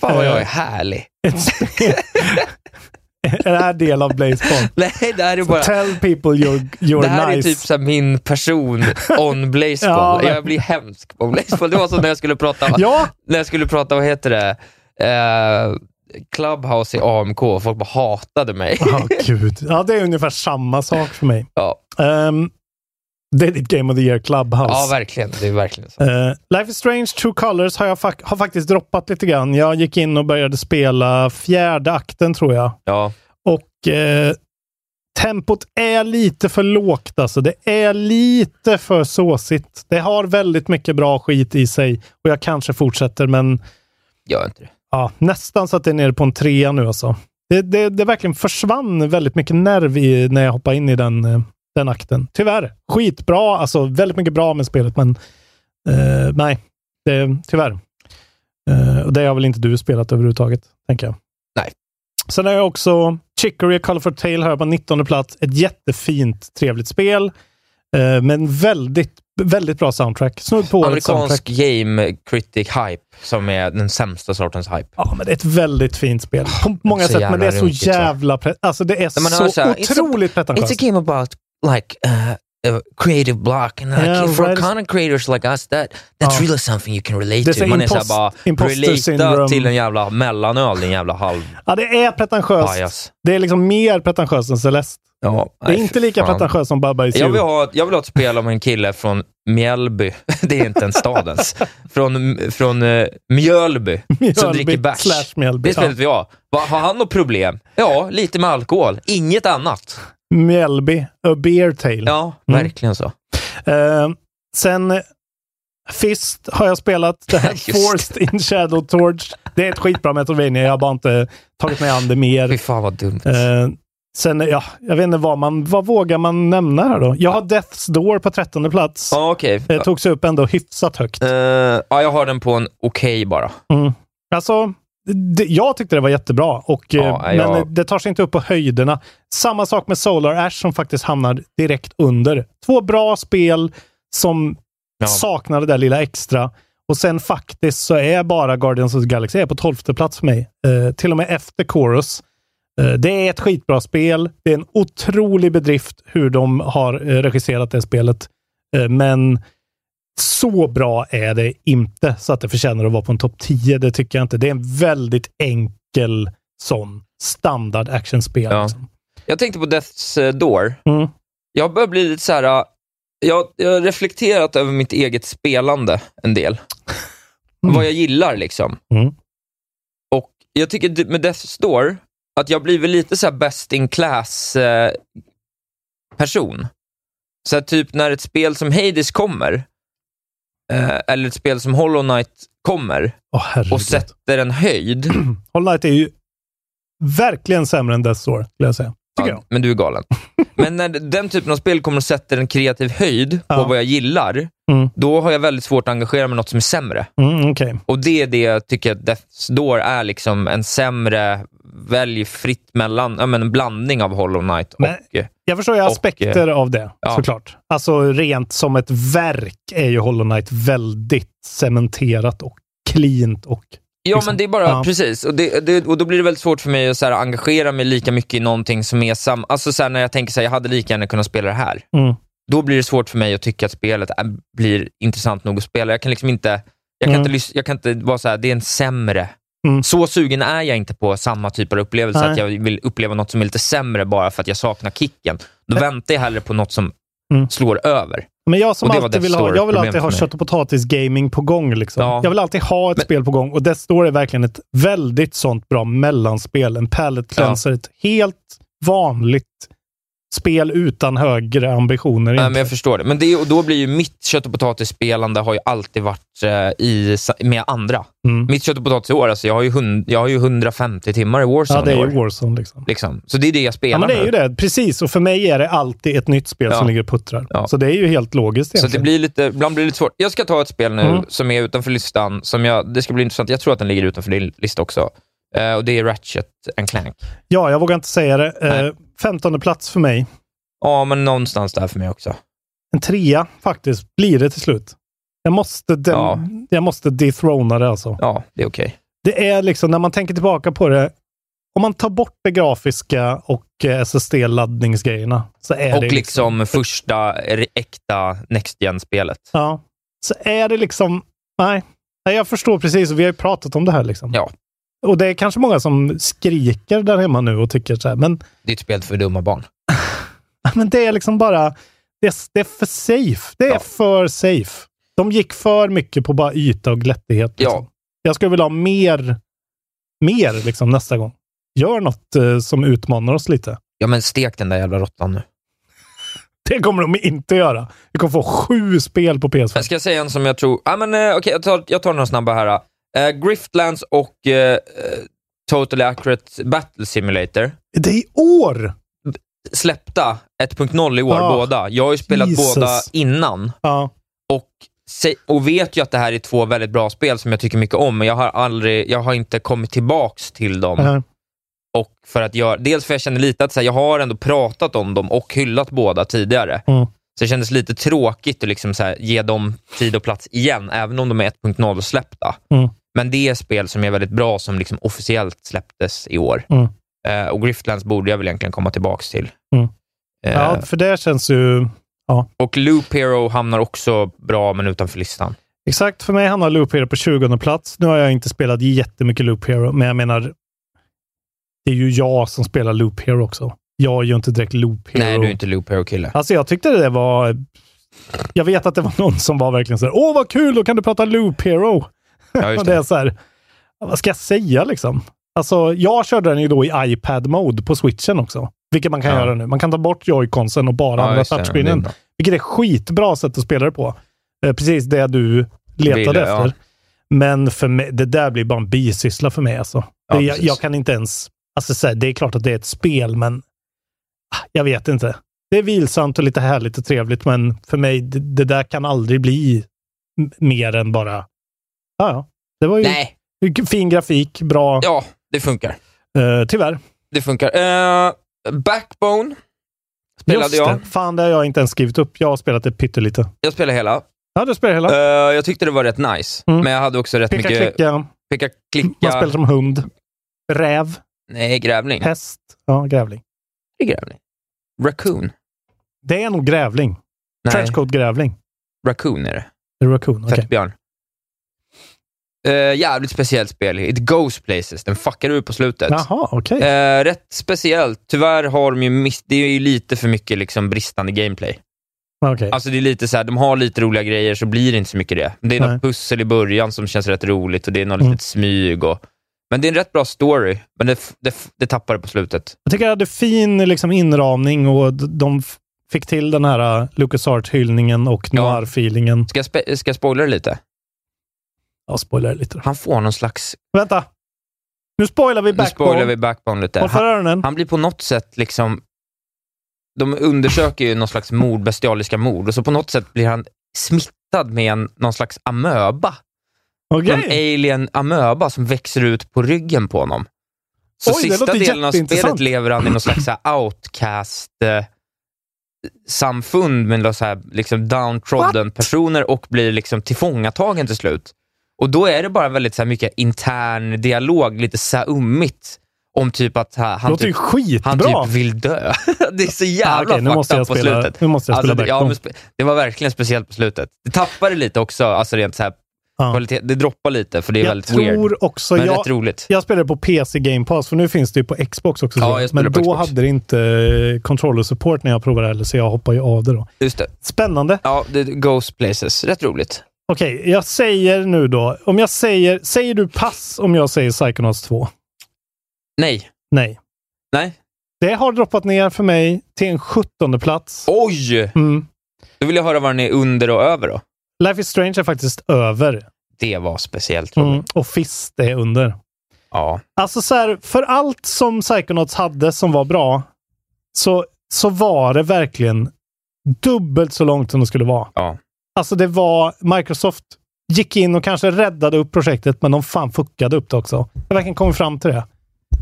Fan vad jag är
Eh.
härlig.
ett spel. är det här del av Blazeball?
Nej, det här är bara...
Tell people you're, you're
det här
nice.
är typ så här min person on Blazeball.
Ja, men-
jag blir hemsk på Blazeball. Det var som när jag skulle prata,
Ja,
när jag skulle prata vad heter det, Eh, Clubhouse i AMK. Folk bara hatade mig.
Ja, ah, gud. Ja, det är ungefär samma sak för mig.
Ja.
Ehm, det är ditt Game of the Year Clubhouse.
Ja, verkligen. Det är verkligen så.
Eh, Life is Strange True Colors har jag fak- har faktiskt droppat lite grann. Jag gick in och började spela fjärde akten tror jag.
Ja.
Och eh, tempot är lite för lågt alltså. Det är lite för såsigt. Det har väldigt mycket bra skit i sig och jag kanske fortsätter, men
Gör inte det.
ja, nästan så att det är nere på en trea nu alltså. Det, det, det verkligen försvann väldigt mycket nerv i, när jag hoppade in i den, eh, den akten. Tyvärr. Skitbra, alltså väldigt mycket bra med spelet, men eh, nej, det, tyvärr. Eh, och det har väl inte du spelat överhuvudtaget, tänker jag.
Nej.
Sen har jag också Chicory A Colorful Tale här på 19 plats. Ett jättefint, trevligt spel. Eh, men väldigt, väldigt bra soundtrack. Snudd på årets soundtrack.
Amerikansk game critic hype, som är den sämsta sortens hype.
Ja, men det är ett väldigt fint spel. På många
så
sätt, men det är
jävla
så
runkigt, va?
jävla... Pre- alltså det är
Men man
så,
hör så här, it's a-
otroligt
It's a
pretentiöst.
game about like uh, a creative block and like,
Yeah,
for
right.
content creators like us that that's
Ja.
really something you can relate
Det är
to.
så
Man är
impost-
såhär bara,
imposter syndrome.
relata till en jävla mellanöl, din jävla
Ja, det är pretentiöst.
halvpajas.
Det är liksom mer pretentiöst än Celeste.
Ja,
Det är
nej,
inte
fy
lika
fan.
pretentiöst som Baba Is
Jag vill,
You.
ha, jag vill ha ett spel om en kille från Mjällby, det är inte en stad ens, från, från eh, Mjölby, som
Mjölby
dricker bärs.
slash Mjällby.
Det spelet vill jag ha. Va, Har han något problem? Ja, lite med alkohol. Inget annat.
Mjällby, A Beer Tale.
Ja,
Mm.
verkligen så.
Eh, sen eh, Fist har jag spelat. Det här
Just det.
Forced in Shadow Torch. Det är ett skitbra Metroidvania. Jag har bara inte tagit mig an det mer.
Fy fan vad dumt.
Eh, sen, ja, jag vet inte vad man, vad vågar man nämna här då? Jag har Death's Door på trettonde plats.
Ja, okej.
Det togs upp ändå hyfsat högt.
Eh, ja, jag har den på en okej bara.
Alltså, det, jag tyckte det var jättebra, och, eh,
Ja,
men
jag-
eh, det tar sig inte upp på höjderna. Samma sak med Solar Ash som faktiskt hamnar direkt under. Två bra spel som
Ja.
saknar det där lilla extra. Och sen faktiskt så är bara Guardians of the Galaxy är på tolfte plats för mig. Eh, till och med efter Chorus. Eh, det är ett skitbra spel. Det är en otrolig bedrift hur de har eh, regisserat det spelet. Eh, men så bra är det inte så att det förtjänar att vara på en topp 10. Det tycker jag inte. Det är en väldigt enkel sån standard actionspel.
Ja.
Liksom.
Jag tänkte på Death's eh, Door.
Mm.
Jag börjar bli lite så här... äh, Jag, jag har reflekterat över mitt eget spelande en del. Vad jag gillar liksom.
Mm.
Och jag tycker d- med Death's Door, att jag blir väl lite så här best in class eh, person. Så här, typ när ett spel som Hades kommer, eh, eller ett spel som Hollow Knight kommer
Åh, herregud.
och sätter en höjd.
Hollow Knight är ju verkligen sämre än Death's Door, skulle jag säga. Tycker jag.
Ja, men du är galen. Men när den typen av spel kommer och sätter en kreativ höjd
Ja.
på vad jag gillar,
Mm.
då har jag väldigt svårt att engagera mig i något som är sämre.
Mm, Okej.
Och det är det jag tycker att Death's Door är liksom en sämre, välj fritt mellan, ja men en blandning av Hollow Knight och... eh,
Men- Jag förstår ju
Och, eh,
aspekter av det,
ja.
såklart. Alltså rent som ett verk är ju Hollow Knight väldigt cementerat och cleant och...
Ja,
liksom.
men det är bara,
Ja.
precis. Och, det, det, och då blir det väldigt svårt för mig att så här, engagera mig lika mycket i någonting som är sam... Alltså så här, när jag tänker så här, jag hade lika gärna kunnat spela det här.
Mm.
Då blir det svårt för mig att tycka att spelet är, blir intressant nog att spela. Jag kan liksom inte, jag kan
Mm.
inte, lys- jag kan inte vara så här, det är en sämre.
Mm.
Så sugen är jag inte på samma typ av upplevelse,
Nej.
att jag vill uppleva något som är lite sämre bara för att jag saknar kicken. Då väntar jag hellre på något som
Mm.
slår över.
Men jag som
Och det var
alltid
Death's
vill ha,
Door
jag vill
problem
alltid ha
för mig.
kött och potatis gaming på gång. Liksom.
Ja.
Jag vill alltid ha ett
Men-
spel på gång och Death Door är verkligen ett väldigt sånt bra mellanspel. En palette cleanser, ett helt vanligt spel utan högre ambitioner.
Nej,
egentligen.
Äh, men jag förstår det. Men det, är- och då blir ju mitt kött och potatisspelande har ju alltid varit eh, i, sa- med andra.
Mm.
Mitt kött och potatis i år, alltså, jag, har ju hund, jag har ju 150 timmar i Warzone
Ja, det
i
är
år.
ju Warzone liksom.
Liksom. Så det är det jag spelar
Ja, men det är
nu.
ju det. Precis. Och för mig är det alltid ett nytt spel
Ja.
som ligger och puttrar.
Ja.
Så det är ju helt logiskt
Så det
egentligen.
blir lite, ibland blir det lite svårt. Jag ska ta ett spel nu
Mm.
som är utanför listan. Som jag, det ska bli intressant. Jag tror att den ligger utanför din lista också. Eh, och Det är Ratchet and Clank.
Ja, jag vågar inte säga det.
Nej.
Eh, femtonde plats för mig.
Ja, men någonstans där för mig också.
En trea faktiskt blir det till slut. Jag måste, dem-
Ja.
jag måste dethrona det alltså.
Ja, det är okej.
Det är liksom, när man tänker tillbaka på det, om man tar bort det grafiska och eh, SSD-laddningsgrejerna så är
Och
det...
liksom första re- äkta Next Gen-spelet.
Ja. Så är det liksom... Nej. nej, jag förstår precis. och Vi har ju pratat om det här. liksom.
Ja.
Och det är kanske många som skriker där hemma nu och tycker så här, men,
Det är ett spel för dumma barn.
men det är liksom bara... Det är, det är för safe. Det är
Ja.
för safe. De gick för mycket på bara yta och glättighet. Liksom.
Ja.
Jag skulle vilja ha mer, mer liksom, nästa gång. Gör något eh, som utmanar oss lite.
Ja, men stek den där jävla råttan nu.
Det kommer de inte göra. Vi kommer få sju spel på PS4.
Jag ska säga en som jag tror... Ah, men, eh, okej, jag, tar, jag tar några snabba här. Eh, Griftlands och eh, eh, Totally Accurate Battle Simulator
Det är i år!
släppta 1.0 i år,
Ah,
båda. Jag har ju spelat
Jesus.
båda innan
Ja.
och, se- och vet ju att det här är två väldigt bra spel som jag tycker mycket om, men jag har, aldrig, jag har inte kommit tillbaks till dem.
det här.
Och för att göra, dels för att jag känner lite att så här, jag har ändå pratat om dem och hyllat båda tidigare.
Mm.
Så det kändes lite tråkigt att liksom så här, ge dem tid och plats igen, även om de är 1.0-släppta.
Mm.
Men det är spel som är väldigt bra, som liksom officiellt släpptes i år.
Mm.
Eh, och Griftlands borde jag väl egentligen komma tillbaka till.
Mm.
Eh,
Ja, för det känns ju...
Och Loop Hero hamnar också bra, men utanför listan.
Exakt, för mig hamnar Loop Hero på 20 plats. Nu har jag inte spelat jättemycket Loop Hero, men jag menar, det är ju jag som spelar Loop Hero också. Jag är ju inte direkt Loop Hero.
Nej, du är inte Loop Hero-kille.
Alltså jag tyckte det var... Jag vet att det var någon som var verkligen så här, åh vad kul, då kan du prata Loop Hero.
Ja,
Och
just
det
det.
är så här, vad ska jag säga liksom? Alltså, jag körde den ju då i iPad-mode på switchen också. Vilket man kan
Ja.
göra nu. Man kan ta bort joyconsen och bara
Ja,
använda
just det. Det är
touchscreenen.
bra.
Vilket är skitbra sätt att spela det på. Eh, precis det du letade
Ville, ja.
efter. Men för mig, det där blir bara en bisyssla för mig. Alltså.
Ja,
det, jag,
precis.
jag kan inte ens... Alltså, så här, det är klart att det är ett spel, men ah, jag vet inte. Det är vilsamt och lite härligt och trevligt, men för mig, det, det där kan aldrig bli m- mer än bara... Ja, ja. Det var ju
Nej,
fin grafik, bra.
ja, det funkar.
Eh, tyvärr.
Det funkar. Eh, Backbone spelade
Just
jag.
Det. Fan, det har jag inte ens skrivit upp. Jag har spelat det pyttelite.
Jag spelade hela.
Ja, du spelar hela.
Eh, jag tyckte det var rätt nice,
Mm.
men jag hade också rätt
Picka,
mycket...
klicka.
Picka,
Man
klicka.
spelar som hund. Räv.
Nej, grävling.
Häst. Ja, grävling.
Det är grävling. Raccoon.
Det är nog grävling.
Nej,
Trenchcoat grävling.
raccoon är det.
Det är Raccoon. okej.
Tvättbjörn. Eh, jävligt speciellt spel. It goes places. Den fuckar ur på slutet.
Jaha, okej.
Eh, rätt speciellt. Tyvärr har de ju miss- det är ju lite för mycket liksom bristande gameplay.
Okej.
Alltså det är lite så här, de har lite roliga grejer så blir det inte så mycket det. Det är
Nej.
något pussel i början som känns rätt roligt och det är något
Mm.
litet smyg. Och, men det är en rätt bra story, men det, f- det, f- det tappar det på slutet.
Jag tycker det hade fin liksom, inramning och d- de f- fick till den här uh, LucasArts-hyllningen och
Ja.
noir-feelingen.
Ska jag, spe- ska jag spoila det lite?
Jag spoilar lite. då.
Han får någon slags...
Vänta! Nu spoilar vi
Nu spoilar vi
Backbone.
backbone lite.
Håll
Han-
för öronen.
Han blir på något sätt liksom... De undersöker ju någon slags mord, bestialiska mord, och så på något sätt blir han smittad med en, någon slags amöba. En
Okej.
alien amöba som växer ut på ryggen på honom. Så
Oj, det
sista
låter
delen av spelet
jätteintressant.
lever han i någon slags så här outcast-samfund med någon så här, liksom downtrodden personer och blir liksom tillfångatagen till slut. Och då är det bara väldigt så här mycket intern dialog, lite saummigt om typ att ha- han
Låter ju
typ
skitbra.
han typ vill dö. det är så
Ah,
jävla
okej, nu måste jag
fucked up på
spela,
slutet.
nu måste jag spela
Alltså, det, ja,
Backbone.
men spe, det var verkligen speciellt på slutet. Det tappade lite också, alltså rent så här,
Ja.
kvalitet, det droppar lite för det är
jag
väldigt
tror
weird.
också...
Men
Jag,
rätt roligt.
Jag spelade på PC Game Pass, för nu finns det ju på Xbox också.
Ja,
tror jag.
jag spelar
men
på
då
Xbox.
hade det inte eh, controller support när jag provade heller, så jag hoppar ju av det då.
Just det.
Spännande.
Ja, det, Ghost Places. Rätt roligt.
Okej, jag säger nu då. Om jag säger... Säger du pass om jag säger Psychonauts 2?
Nej.
Nej.
Nej.
Det har droppat ner för mig till en 17 plats.
Oj!
Mm.
Då vill jag höra vad den är under och över då.
Life is Strange är faktiskt över.
Det var speciellt roligt.
Mm. Och Fist är under.
Ja.
Alltså så här, för allt som Psychonauts hade som var bra, så, så var det verkligen dubbelt så långt som det skulle vara.
Ja.
Alltså det var, Microsoft gick in och kanske räddade upp projektet, men de fan fuckade upp det också. Jag verkligen kommit fram till det.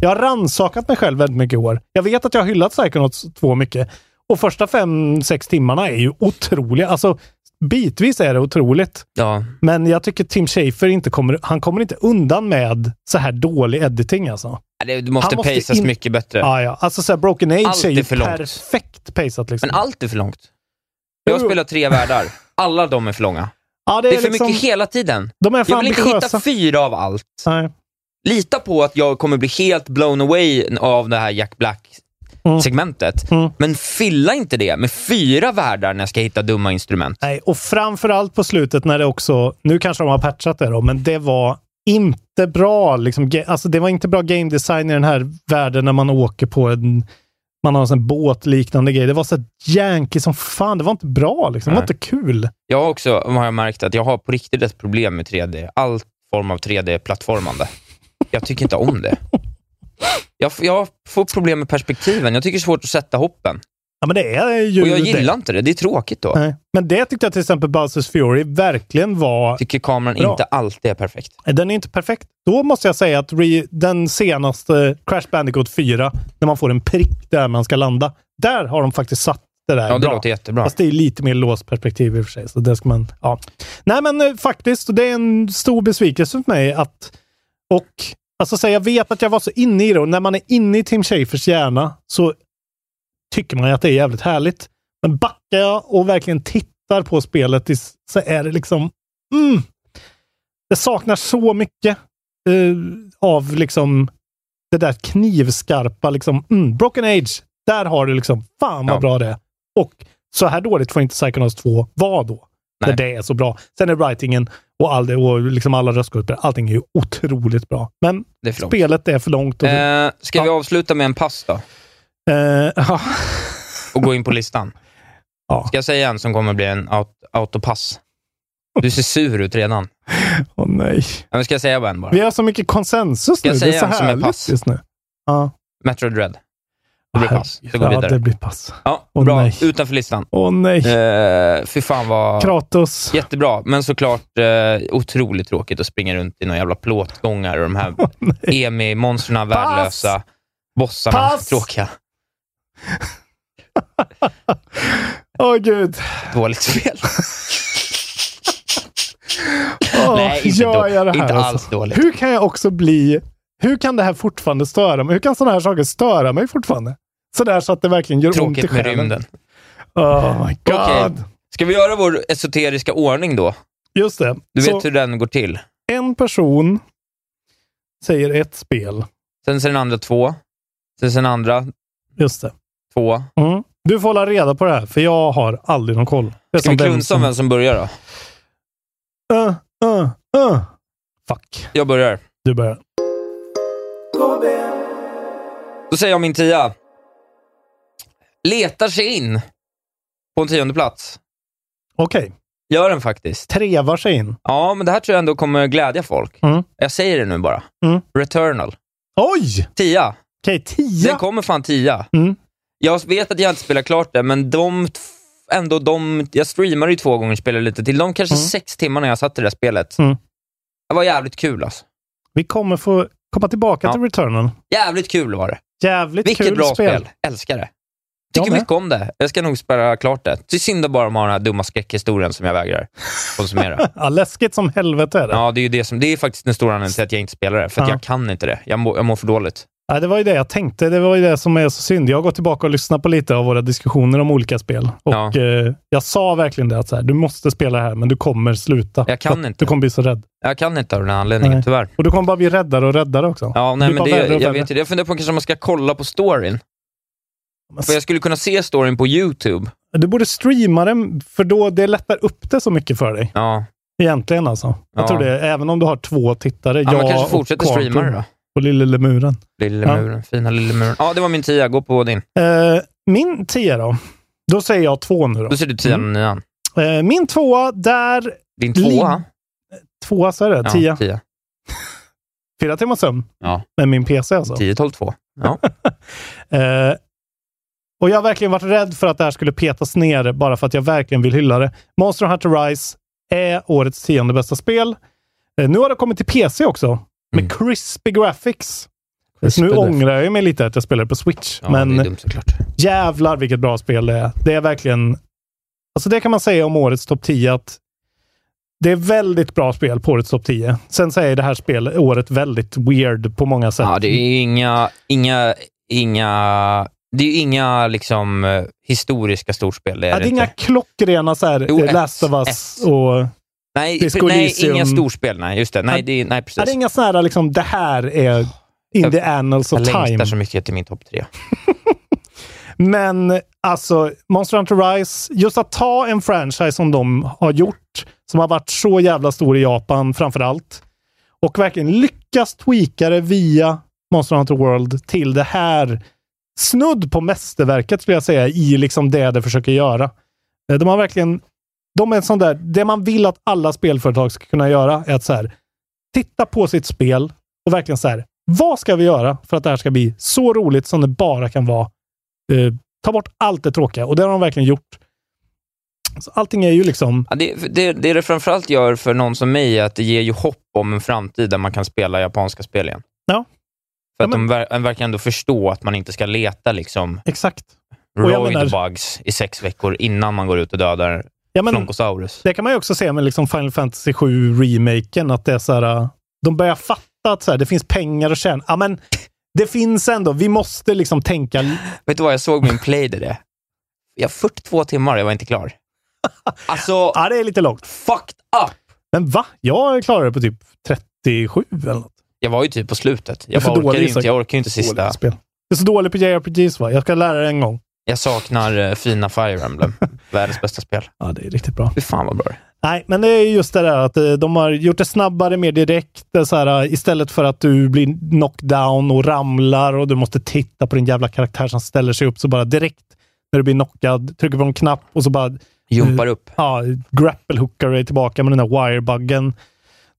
Jag har rannsakat mig själv väldigt mycket i år. Jag vet att jag har hyllat Psychonauts 2 mycket. Och första fem, sex timmarna är ju otroliga. Alltså, bitvis är det otroligt.
ja.
Men jag tycker Tim Schafer inte kommer, han kommer inte undan med så här dålig editing alltså.
Det det måste,
Han måste
paceas
in-
mycket bättre.
Ja, ja. Alltså så här, Broken Age
Allt
är ju
är för långt.
perfekt pacat liksom.
Men allt är för långt. Jag
Jo.
spelar tre världar. Alla de är för långa.
ja,
Det är för
liksom-
mycket hela tiden.
De är för
Jag vill inte
ambitiösa.
hitta fyra av allt.
Nej.
lita på att jag kommer bli helt blown away av det här Jack
Mm.
Black-segmentet.
Mm.
Men fylla inte det med fyra världar när jag ska hitta dumma instrument.
Nej, och framförallt på slutet när det också, nu kanske de har patchat det då, men det var inte bra. Liksom, ge- alltså det var inte bra game design i den här världen när man åker på en, man har en sån båtliknande grej. Det var så här janky som fan. Det var inte bra liksom. Det var
Nej.
inte kul.
Jag har också har jag märkt att jag har på riktigt ett problem med 3D. All form av 3D-plattformande. Jag tycker inte om det. Jag, f- jag får problem med perspektiven. Jag tycker det är svårt att sätta hoppen.
Ja, men det är ju
Och jag
det.
gillar inte det. Det är tråkigt då.
Nej. Men det tyckte jag till exempel Bowsers Fury verkligen var...
Tycker kameran
Bra.
inte alltid är perfekt.
Den är inte perfekt. Då måste jag säga att re, den senaste Crash Bandicoot 4, när man får en prick där man ska landa, där har de faktiskt satt det där
Ja, det
bra.
låter jättebra.
Fast det är lite mer låst perspektiv i och för sig. Så det ska man, ja. Nej, men eh, faktiskt, det är en stor besvikelse för mig att... Och alltså, så här, jag vet att jag var så inne i det och när man är inne i Tim Schafers hjärna så tycker man ju att det är jävligt härligt. Men backar jag och verkligen tittar på spelet i- så är det liksom... Mm, det saknar så mycket eh, av liksom det där knivskarpa, liksom, mm, Broken Age. Där har du liksom, fan vad
Ja.
bra det är. Och så här dåligt får inte Psychonauts 2 vara då. När
Nej.
det är så bra. Sen är writingen och, all det, och liksom alla röstgrupper, allting är ju otroligt bra. Men
Det är för långt.
spelet är för långt. Och, eh.
Eh, ska vi avsluta med en pass då?
ja.
Och gå in på listan?
Ja.
Ska jag säga en som kommer bli en aut- autopass? Du ser sur ut redan.
Åh, nej.
Ja, men ska jag säga bara en bara?
Vi har så mycket konsensus
Ska
nu.
jag
Det är
säga
så
en som är
härligt
pass?
just nu. Ja.
Metroid Red. Det blir pass. Så går vi
ja, det
vidare.
blir pass.
Ja,
Åh,
bra.
nej.
Utanför listan.
Åh nej.
Eh, fy fan vad...
Kratos.
Jättebra, men såklart eh, otroligt tråkigt att springa runt i några jävla plåtgångar och de här EMI-monstren värdelösa. Bossarna
Pass!
tråkiga.
Åh gud.
Dåligt spel.
Åh,
Nej, inte,
gör
då,
jag det här
inte
alltså?
alls dåligt.
Hur kan jag också bli... Hur kan det här fortfarande störa mig? Hur kan sådana här saker störa mig fortfarande? Sådär så att det verkligen gör ont i
Tråkigt med
själen.
rymden.
Oh my god.
Okej. Ska vi göra vår esoteriska ordning då?
Just det.
Du
så
vet hur den går till.
en person säger ett spel.
Sen ser den andra två. Sen ser den andra
Just det.
två.
Mm. Du får hålla reda på det här, för jag har aldrig någon koll. Det är
Ska vi klunsa om vem som börjar då?
Uh, uh, uh. Fuck.
Jag börjar.
Du börjar.
Då säger jag min tia. Letar sig in på en tionde plats.
Okej.
Gör den faktiskt.
Trevar sig in.
Ja, men det här tror jag ändå kommer glädja folk.
Mm.
Jag säger det nu bara.
Mm.
Returnal.
Oj!
Tia.
Okej,
Den
tia.
kommer fan tia.
Mm.
Jag vet att jag inte spelar klart det, men de t- ändå de, jag streamade ju två gånger spelade lite till. De kanske
Mm.
sex timmar när jag satt i det där spelet.
Mm.
Det var jävligt kul alltså.
Vi kommer få komma tillbaka
Ja.
till Returnal.
Jävligt kul var det.
Jävligt
Vilket
kul
bra spel.
spel.
Älskar det.
Jag
Tycker
med.
mycket om det. Jag ska nog spela klart det. Det är synd att bara de har den här dumma skräckhistorien som jag vägrar konsumera.
Ja, läskigt som helvete är det.
ja, det är ju det som, det är faktiskt den stora anledningen till att jag inte spelar det. För att
Ja.
jag kan inte det. Jag, må, jag mår för dåligt.
Ja, det var ju det jag tänkte. Det var ju det som är så synd. Jag har gått tillbaka och lyssnat på lite av våra diskussioner om olika spel. Och
Ja.
eh, jag sa verkligen det att så här, du måste spela det här, men du kommer sluta.
Jag kan
För att
inte.
Du kommer bli så rädd.
Jag kan inte av den här anledningen,
Nej.
tyvärr.
Och du kommer bara bli räddare och räddare också.
Ja, nej,
Du
men
bara
det,
vägrar
jag
och vägrar.
vet inte. Jag funderar på kanske om man ska kolla på storyn.
Men
För jag skulle kunna se storyn på YouTube.
Du borde streama den, för då det lättar upp det så mycket för dig.
Ja,
Egentligen alltså. Jag
Ja.
tror det. Även om du har två tittare.
ja man
jag
kanske
och
fortsätter
Quantum
streama det då.
Och Lille Lemuren.
Lille
Ja.
muren, fina lille muren. Ja, det var min tia. Gå på din.
Eh, min tia då? Då säger jag två nu då.
Då ser du tian och nian.
Eh, min tvåa, där...
Din tvåa?
Tvåa, så är det.
Ja,
tia.
tia.
Fyra timmar sömn.
Ja.
Med min PC alltså.
10, 12, 2. Ja.
Eh, och jag har verkligen varit rädd för att det här skulle petas ner bara för att jag verkligen vill hylla det. Monster Hunter Rise är årets tionde bästa spel. Eh, nu har det kommit till PC också, med
Mm.
crispy graphics. Så nu
Crispy
ångrar jag ju mig lite att jag spelar på Switch,
Ja,
men
det är dumt såklart.
jävlar vilket bra spel det är. Det är verkligen... Alltså det kan man säga om årets topp 10 att det är väldigt bra spel på årets topp 10. Sen så är det här spelet, året väldigt weird på många sätt.
Ja, det är ju inga, inga, inga, det är ju inga liksom eh, historiska storspel. Det är
Ja, det är
det
inga
inte.
klockrena så här,
Jo,
eh,
ett,
Last of Us
ett.
och...
Nej,
Disco
nej,
Elysium.
inga storspel. Nej, just det. Nej, det, är- nej precis.
Ja, det är inga sådana här, liksom, det här är in
Jag-
the annals of
jag längtar
time.
så mycket till min topp tre.
Men alltså, Monster Hunter Rise, just att ta en franchise som de har gjort, som har varit så jävla stor i Japan framför allt, och verkligen lyckas tweaka det via Monster Hunter World till det här snudd på mästerverket skulle jag säga i liksom det det försöker göra. Eh, De har verkligen, de är en sån där, det man vill att alla spelföretag ska kunna göra är att så här, titta på sitt spel och verkligen så här, vad ska vi göra för att det här ska bli så roligt som det bara kan vara eh, Ta bort allt det tråkiga och det har de verkligen gjort. Så allting är ju liksom...
Ja, det, det, det det framförallt gör för någon som mig är att det ger ju hopp om en framtid där man kan spela japanska spel igen.
Ja.
För
Ja,
att de ver- de verkar ändå förstå att man inte ska leta liksom
Exakt. Och jag
roid
menar-
bugs i sex veckor innan man går ut och dödar
Ja, men,
Flonkosaurus.
det kan man ju också se med liksom Final Fantasy 7-remaken, att det är så här, äh, de börjar fatta att så här, det finns pengar att tjäna. Ja, men det finns ändå. Vi måste liksom tänka...
Vet du vad, jag såg min play där det. Jag 42 timmar jag var inte klar. Alltså,
Ja, det är lite långt.
fucked up!
Men va? Jag klarade det på typ 37 eller något.
Jag var ju typ på slutet. Jag
för
bara orkar
dålig,
inte,
Isak.
jag orkar inte sista.
Dåligt spel. Det är så dåligt på JRPGs va? Jag ska lära det en gång.
Jag saknar eh, fina Fire Emblem. Världens bästa spel.
Ja, det är riktigt bra.
Fy fan vad bra det är.
Nej, men det är just det där att eh, de har gjort det snabbare, mer direkt. Det är så här, eh, istället för att du blir knockdown och ramlar och du måste titta på din jävla karaktär som ställer sig upp, så bara direkt när du blir knockad, trycker på en knapp och så bara Mm.
Jumpar upp.
ja, grapple-hookar dig tillbaka med den där wirebuggen.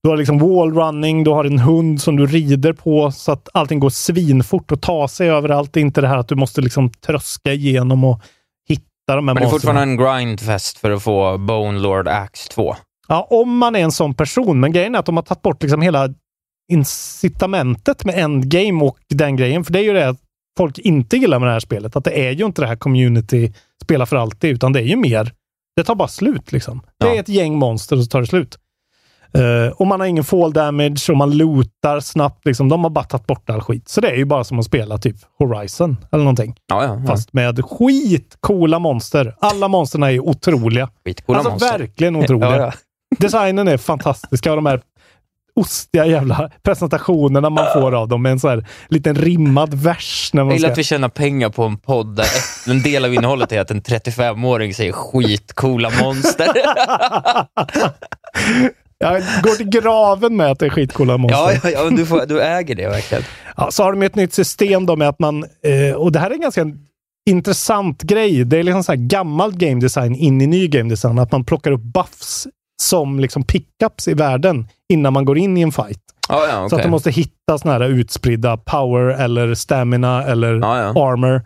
Du har liksom wallrunning, du har en hund som du rider på så att allting går svinfort och ta sig överallt. Det är inte det här att du måste liksom tröska igenom och hitta de här
Men det är fortfarande
monstren.
en grindfest för att få Bone Lord Axe 2.
Ja, om man är en sån person. Men grejen är att de har tagit bort liksom hela incitamentet med endgame och den grejen. För det är ju det att folk inte gillar med det här spelet. Att det är ju inte det här community spela för alltid, utan det är ju mer, det tar bara slut liksom. Det
Ja.
är ett gäng monster och så tar det slut. Eh, och man har ingen fall damage och man lootar snabbt. Liksom. De har bara tagit bort all skit. Så det är ju bara som att spela typ Horizon eller någonting.
Ja, ja. ja.
Fast med skitcoola monster. Alla monstren är ju otroliga.
Skitcoola
alltså
monster.
verkligen otroliga.
Ja, ja.
Designen är fantastiska och de här ostiga jävla presentationerna man får av dem med en så här liten rimmad vers. När
Jag
man
gillar
ska...
att vi tjänar pengar på en podd där ett- en del av innehållet är att en 35-åring säger skitcoola monster.
Jag går till graven med att det är skitcoola monster.
ja, ja, ja men du, får, du äger det verkligen.
Ja, så har de ju ett nytt system då med att man, eh, och det här är en ganska intressant grej. Det är liksom så här gammal game design in i ny game design. Att man plockar upp buffs som liksom pickups i världen innan man går in i en fight.
Ja, ja,
Så att
okej.
de måste hitta såna här utspridda power eller stamina eller
Ja, ja.
armor.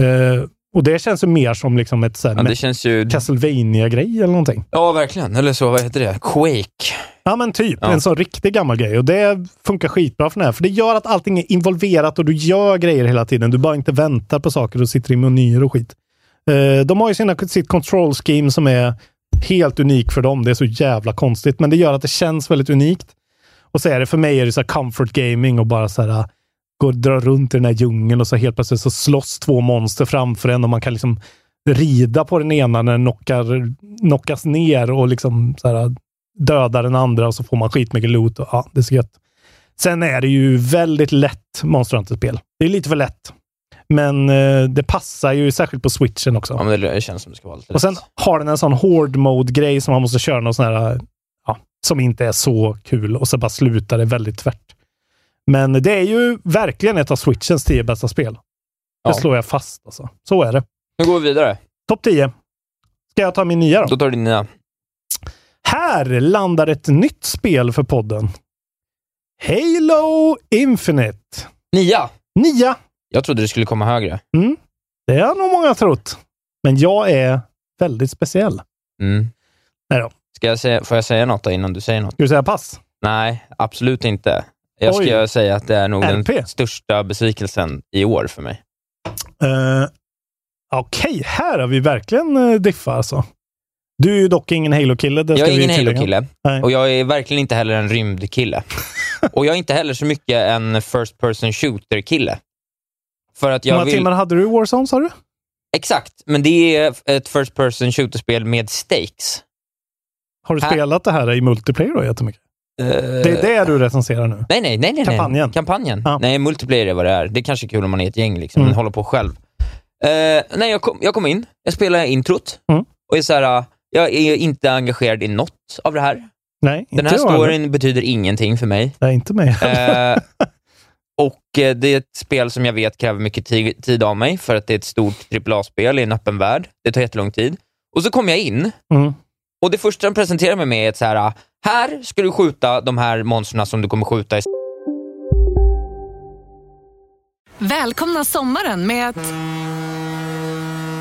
Eh, och det känns ju mer som liksom ett så här
ja, det känns ju...
castlevania grej eller någonting.
Ja, verkligen. Eller så, vad heter det? Quake.
Ja, men typ.
Ja.
En sån riktig gammal grej. Och det funkar skitbra för den här. För det gör att allting är involverat och du gör grejer hela tiden. Du bara inte väntar på saker och sitter i menyer och skit. Eh, de har ju sina, sitt control scheme som är helt unik för dem. Det är så jävla konstigt, men det gör att det känns väldigt unikt. Och så är det, för mig är det så här comfort gaming och bara så här äh, gå och dra runt i den här djungeln och så helt plötsligt så slåss två monster framför en och man kan liksom rida på den ena när den knockar, knockas ner och liksom så här döda den andra och så får man skitmycket loot. Och, ja, det är så gött. Sen är det ju väldigt lätt Monster Hunter-spel. Det är lite för lätt. Men eh, det passar ju särskilt på switchen också.
Ja, men det känns som det ska vara lite
Och sen
lätt.
har den en sån hard mode-grej som man måste köra någon sån här, äh, ja, som inte är så kul och så bara slutar det väldigt tvärt. Men det är ju verkligen ett av Switchens tio bästa spel.
Ja.
Det slår jag fast alltså. Så är det.
Nu går vi vidare.
Topp 10. Ska jag ta min nya då?
Då tar du din nya.
Här landar ett nytt spel för podden. Halo Infinite.
Nia!
Nia.
Jag trodde det skulle komma högre.
Det har nog många trott. Men jag är väldigt speciell.
Mm.
Nej då.
Ska jag säga, får jag säga något då innan du säger något?
Ska du säga pass?
Nej, absolut inte. Jag
Oj.
ska säga att det är nog
LP.
den största besvikelsen i år för mig.
Eh, Okej, här har vi verkligen eh, diffat alltså. Du är ju dock ingen Halo-kille. det
Jag
ska
är
vi
ingen
tillägga.
Halo-kille
Nej.
och jag är verkligen inte heller en rymdkille. och jag är inte heller så mycket en first person shooter-kille. För att
Hur många
jag vill...
timmar hade du i Warzone, sa du?
Exakt, men det är eh, ett first person shooter-spel med stakes.
Har du
Här-
spelat det här i multiplayer då jättemycket?
Eh,
Det är det du recenserar nu.
Nej, nej, nej. nej
Kampanjen.
Nej. Kampanjen.
Ja.
Nej, multiplayer är vad det är. Det är kanske är kul om man är ett gäng, liksom,
Mm.
men hålla på själv. Eh, nej, jag kom, jag kom in, jag spelade introt
Mm.
och är så här, eh, jag är inte engagerad i något av det här.
Nej,
Den
inte
här
jag heller.
storyn betyder ingenting för mig.
Nej, inte mig.
Eh, och eh, det är ett spel som jag vet kräver mycket ti- tid av mig, för att det är ett stort AAA-spel i en öppen värld. Det tar jättelång tid. Och så kom jag in
Mm.
och det första de presenterar mig med är ett så här, "Ah, här ska du skjuta de här monstren som du kommer skjuta i
Välkomna sommaren med att...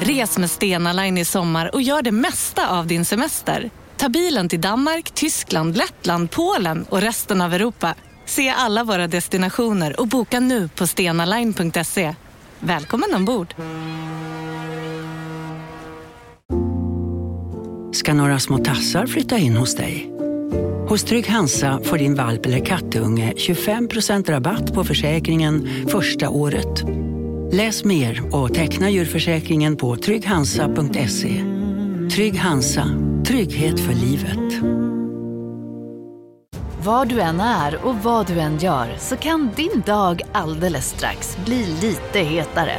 Res med Stena Line i sommar och gör det mesta av din semester. Ta bilen till Danmark, Tyskland, Lettland, Polen och resten av Europa. Se alla våra destinationer och boka nu på stenaline.se. Välkommen ombord!
ska några små tassar flytta in hos dig. Hos Trygg Hansa får din valp eller kattunge 25% rabatt på försäkringen första året. Läs mer och teckna djurförsäkringen på trygghansa.se. Trygg Hansa, trygghet för livet.
Var du än är och vad du än gör så kan din dag alldeles strax bli lite hetare.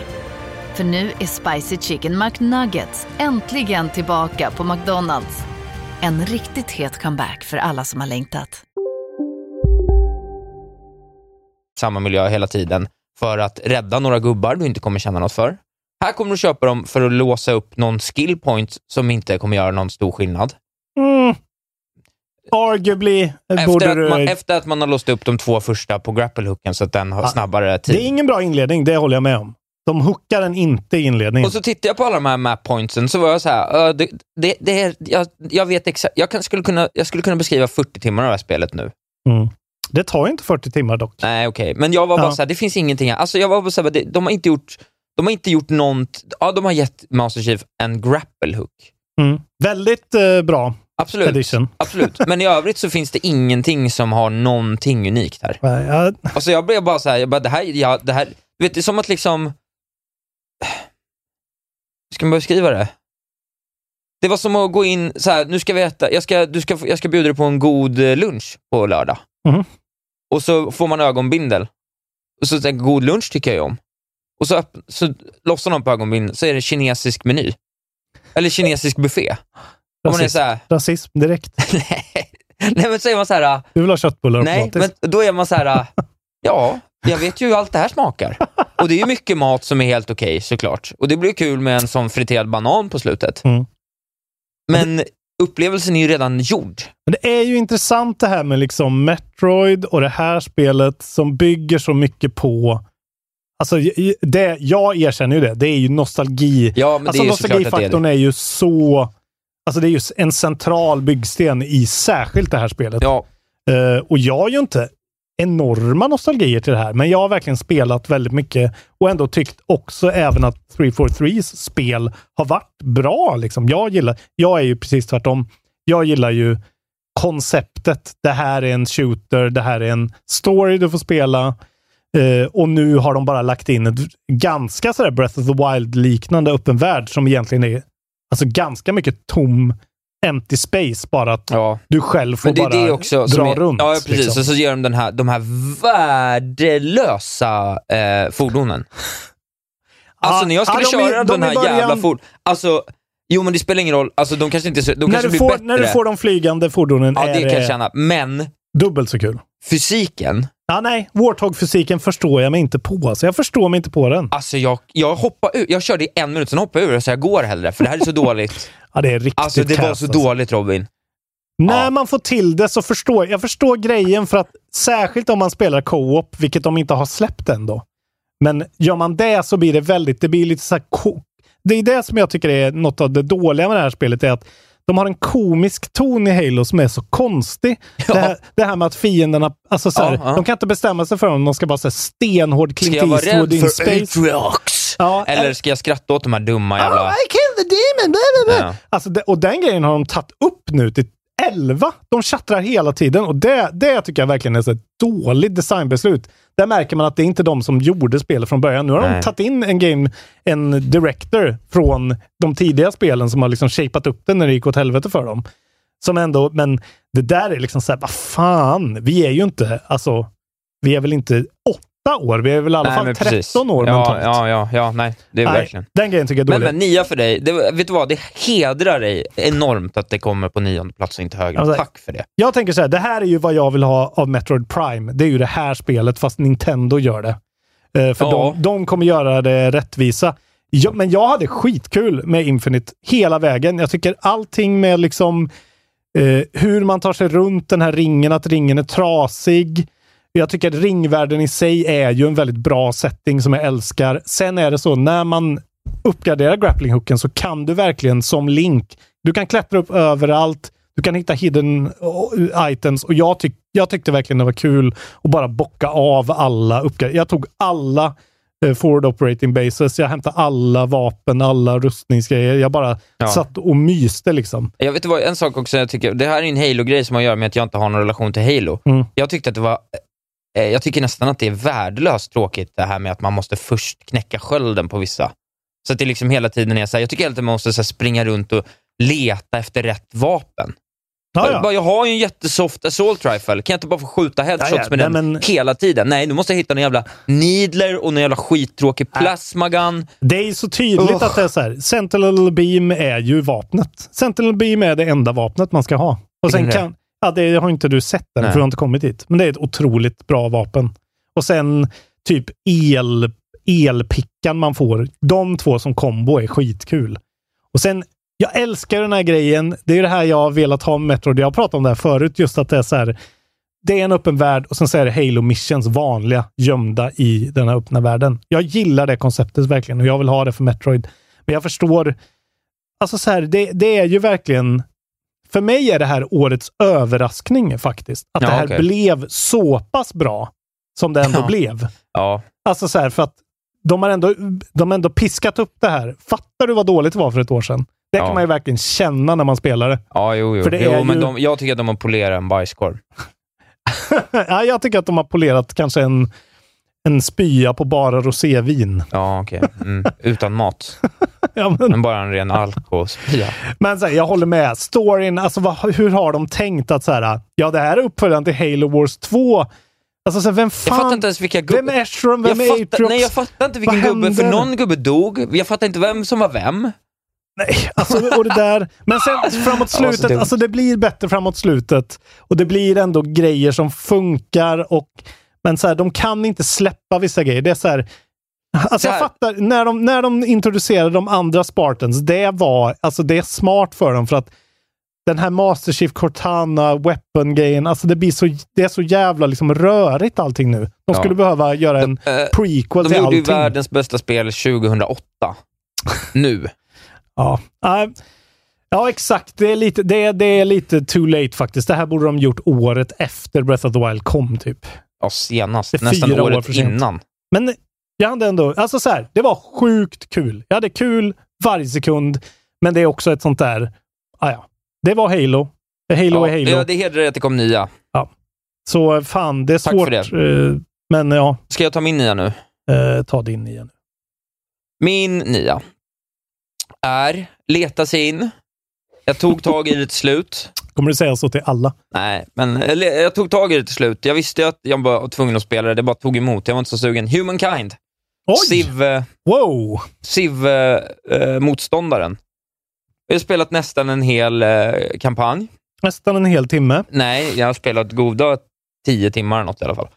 För nu är Spicy Chicken McNuggets äntligen tillbaka på McDonalds. En riktigt het comeback för alla som har längtat.
samma miljö hela tiden för att rädda några gubbar du inte kommer känna något för. Här kommer du köpa dem för att låsa upp någon skill point som inte kommer göra någon stor skillnad.
Mm. Arguably eh,
Efter
borde du...
att, man, efter att man har låst upp de två första på grapplehooken så att den har
Ja.
snabbare tid.
Ah, Det är ingen bra inledning, det håller jag med om. De hookar den inte i inledningen.
Och så tittade jag på alla de här map pointsen så var jag så här, "Ö, det, det, det är, jag, jag vet exakt, jag, kan, skulle kunna, jag skulle kunna beskriva 40 timmar av det här spelet nu.
Mm. Det tar ju inte 40 timmar dock.
Nej, okej. Men jag var bara
Ja.
såhär, det finns ingenting här. Alltså jag var bara såhär, det- de har inte gjort, de har inte gjort något, ja de har gett Master Chief en grapple hook.
Mm. Väldigt eh, bra
Absolut.
edition.
Absolut. Men i övrigt så finns det ingenting som har någonting unikt här.
Nej, jag-
Alltså jag blev bara såhär, jag bara, det här, ja, det här, du vet det är som att liksom, hur ska man beskriva det? Det var som att gå in, så här, nu ska vi äta, jag ska, du ska, få- jag ska bjuda dig på en god eh, lunch på lördag.
Mhm.
Och så får man ögonbindel. Och så tänker jag, god lunch tycker jag ju om. Och så, öpp- så lossar de på ögonbindeln, så är det kinesisk meny. Eller kinesisk buffé. Och man är
Rasism.
så här,
Rasism direkt.
nej. nej men så är man så här, ah,
Du vill ha köttbullar och
Nej,
potatis.
men då är man så här, äh, ja, jag vet ju hur allt det här smakar. Och det är ju mycket mat som är helt okej såklart. Och det blir kul med en sån friterad banan på slutet.
Mm.
Men upplevelsen är ju redan gjord.
Men det är ju intressant det här med liksom Metroid och det här spelet som bygger så mycket på... Alltså, j- j- det, jag erkänner ju det. Det är ju nostalgi.
Ja, men
alltså
det är ju såklart att det är
nostalgifaktorn
det.
är ju så... Alltså det är ju s- en central byggsten i särskilt det här spelet.
Ja,
Eh, och jag har ju inte enorma nostalgier till det här, men jag har verkligen spelat väldigt mycket och ändå tyckt också även att 343s spel har varit bra. Liksom. Jag gillar, jag är ju precis tvärtom. Jag gillar ju konceptet. Det här är en shooter, det här är en story du får spela. Eh, och nu har de bara lagt in ett ganska sådär Breath of the Wild-liknande öppen värld som egentligen är alltså ganska mycket tom empty space, bara att
ja.
du själv får
Men det är
bara
det också
dra
som är,
runt.
Ja, precis.
liksom.
Och så gör de den här, de här värdelösa eh, fordonen. Alltså
Ja,
när jag skulle
ja, Ah, de är-
köra
de
den
är
här
början-
jävla ford... Alltså, jo men det spelar ingen roll. Alltså de kanske inte... är så- De
när,
kanske
du
blir
får,
bättre.
när du får de flygande fordonen
ja,
är
det kan jag känna. Men
dubbelt så kul.
fysiken,
Ja, nej, Warthog-fysiken förstår jag mig inte på. Alltså, jag förstår mig inte på den.
alltså jag, jag hoppade ur, jag körde i en minut, sen hoppade jag ur och sa jag går hellre för det här är så dåligt.
Ja, det är riktigt
Alltså det var
kass,
så
alltså.
dåligt Robin.
När
Ja.
man får till det så förstår jag. Jag förstår grejen för att särskilt om man spelar co-op, vilket de inte har släppt än då. Men gör man det så blir det väldigt, det blir lite så här ko- Det är det som jag tycker är något av det dåliga med det här spelet, är att de har en komisk ton i Halo som är så konstig. Det, här, det här med att fienderna, alltså så här,
Ja, ja.
de kan inte bestämma sig för om de ska vara så här stenhård
Ska
Clint
jag vara
Eastwood
rädd
in
för
space.
Atrox?
Ja,
Eller ska jag skratta åt de här dumma
Oh,
jävla...
I killed the demon! Blah, blah, blah.
Ja.
Alltså, det, och den grejen har de tagit upp nu till 11. De tjattrar hela tiden och det, det tycker jag verkligen är så ett dåligt designbeslut. Där märker man att det är inte de som gjorde spelet från början. Nu har de
Nej.
tagit in en game, en director från de tidiga spelen som har liksom shapat upp den när det gick åt helvete för dem. Som ändå, men det där är liksom så här, vad fan, vi är ju inte, alltså, vi är väl inte åtta år, vi är väl i alla fall 13 år
ja,
mentalt.
ja, ja, ja, nej, det är
Nej,
verkligen.
Den grejen tycker jag är
Men,
dålig.
men nia för dig, det, var- vet du vad, det hedrar dig enormt att det kommer på nionde plats och inte högre.
Alltså,
Tack för det.
Jag tänker så här, det här är ju vad jag vill ha av Metroid Prime. Det är ju det här spelet, fast Nintendo gör det. Eh, för
Ja.
de, de kommer göra det rättvisa. Jag, men jag hade skitkul med Infinite hela vägen. Jag tycker allting med liksom eh, hur man tar sig runt den här ringen, att ringen är trasig. Jag tycker att ringvärlden i sig är ju en väldigt bra setting som jag älskar. Sen är det så, när man uppgradera grapplinghucken så kan du verkligen som Link, du kan klättra upp överallt, du kan hitta hidden eh, items och jag, tyck, jag tyckte verkligen det var kul att bara bocka av alla uppgraderingar. Jag tog alla eh, forward operating bases, jag hämtade alla vapen, alla rustningsgrejer. Jag bara
Ja.
satt och myste liksom.
Jag vet vad, en sak också jag tycker, det här är en Halo-grej som har att göra med att jag inte har någon relation till Halo.
Mm.
Jag tyckte att det var, eh, jag tycker nästan att det är värdelöst tråkigt det här med att man måste först knäcka skölden på vissa. Så att det liksom hela tiden är så här, jag tycker hela tiden man måste så här springa runt och leta efter rätt vapen.
Ja,
Jag,
ja.
bara, jag har ju en jättesoft assault rifle, kan jag inte bara få skjuta headshots
Ja, ja,
med
nej,
den
men-
hela tiden? Nej, nu måste jag hitta en jävla needler och en jävla skittråkig plasmagun.
Det är så tydligt
Ugh.
att det är så här. Sentinel Beam är ju vapnet. Sentinel Beam är det enda vapnet man ska ha. Och sen
Är det
kan, ja, det har inte du sett än,
Nej.
för du har inte kommit dit. Men det är ett otroligt bra vapen. Och sen typ el, elpickan man får. De två som kombo är skitkul. Och sen, jag älskar den här grejen. Det är ju det här jag har velat ha med Metroid. Jag har pratat om det här förut, just att det är så här. Det är en öppen värld och sen så är det Halo Missions vanliga gömda i den här öppna världen. Jag gillar det konceptet verkligen och jag vill ha det för Metroid. Men jag förstår. Alltså så här, det, det är ju verkligen. För mig är det här årets överraskning faktiskt. Att
Ja,
det här
okej.
blev så pass bra som det ändå
Ja.
blev.
Ja,
Alltså så här, för att de har, ändå, de har ändå piskat upp det här. Fattar du vad dåligt det var för ett år sedan? Det
Ja.
kan man ju verkligen känna när man spelar det.
ja jo, jo.
För det
jo
är
men
ju-
de, jag tycker att de har polerat en bajskorv.
ja, jag tycker att de har polerat kanske en, en spya på bara rosévin.
Ja, okej. Mm. Utan mat,
ja, men
men bara en ren alkoholspya.
Men så här, jag håller med. Storyn, alltså vad, hur har de tänkt att så här, ja det här är uppföljaren till Halo Wars 2. Alltså så här, vem fan...
Jag fattar inte ens vilka gubbar...
Vem är Ashram?
jag
Vem är
fattar,
Atrox?
nej, jag fattar inte vilken
Vad
gubbe, för
händer?
någon gubbe dog. Jag fattar inte vem som var vem.
Nej, alltså, och det där. Men sen framåt
Det var så
slutet,
dumt.
alltså det blir bättre framåt slutet. Och det blir ändå grejer som funkar och men så här, de kan inte släppa vissa grejer. Det är så här, alltså
Där.
jag fattar, när de, när de introducerade de andra Spartans, det var, alltså det är smart för dem för att den här Master Chief Cortana weapon-grejen, alltså det blir så, det är så jävla liksom rörigt allting nu. De skulle behöva göra en
Eh,
prequel
de
till
gjorde ju
allting.
världens bästa spel 2008. Nu.
Ja, Nej. ja exakt. Det är, lite, det, är, det är lite too late faktiskt. Det här borde de gjort året efter Breath of the Wild kom, typ.
Ja, senast.
Det är
Nästan
fyra år
året
för sent.
innan.
Men jag hade ändå... Alltså så här, det var sjukt kul. Jag hade kul varje sekund, men det är också ett sånt där... Ah, ja. Det var Halo. Det är Halo
Ja,
är Halo.
det- det hedrar dig att det kom nya.
Så fan, det är
Tack
svårt.
för
eh, Men ja,
Ska jag ta min nya nu?
eh, ta det in igen.
Min nya är leta sig in. Jag tog tag i det till slut.
Kommer du säga så till alla?
Nej, men eller, jag tog tag i det till slut. Jag visste ju att jag var tvungen att spela det. Det bara tog emot. Jag var inte så sugen. Humankind.
Oj!
Civ, eh,
Wow!
Civ eh, eh, motståndaren. Jag har spelat nästan en hel eh, kampanj.
Nästan en hel timme.
Nej, jag har spelat goda tio timmar eller något i alla fall.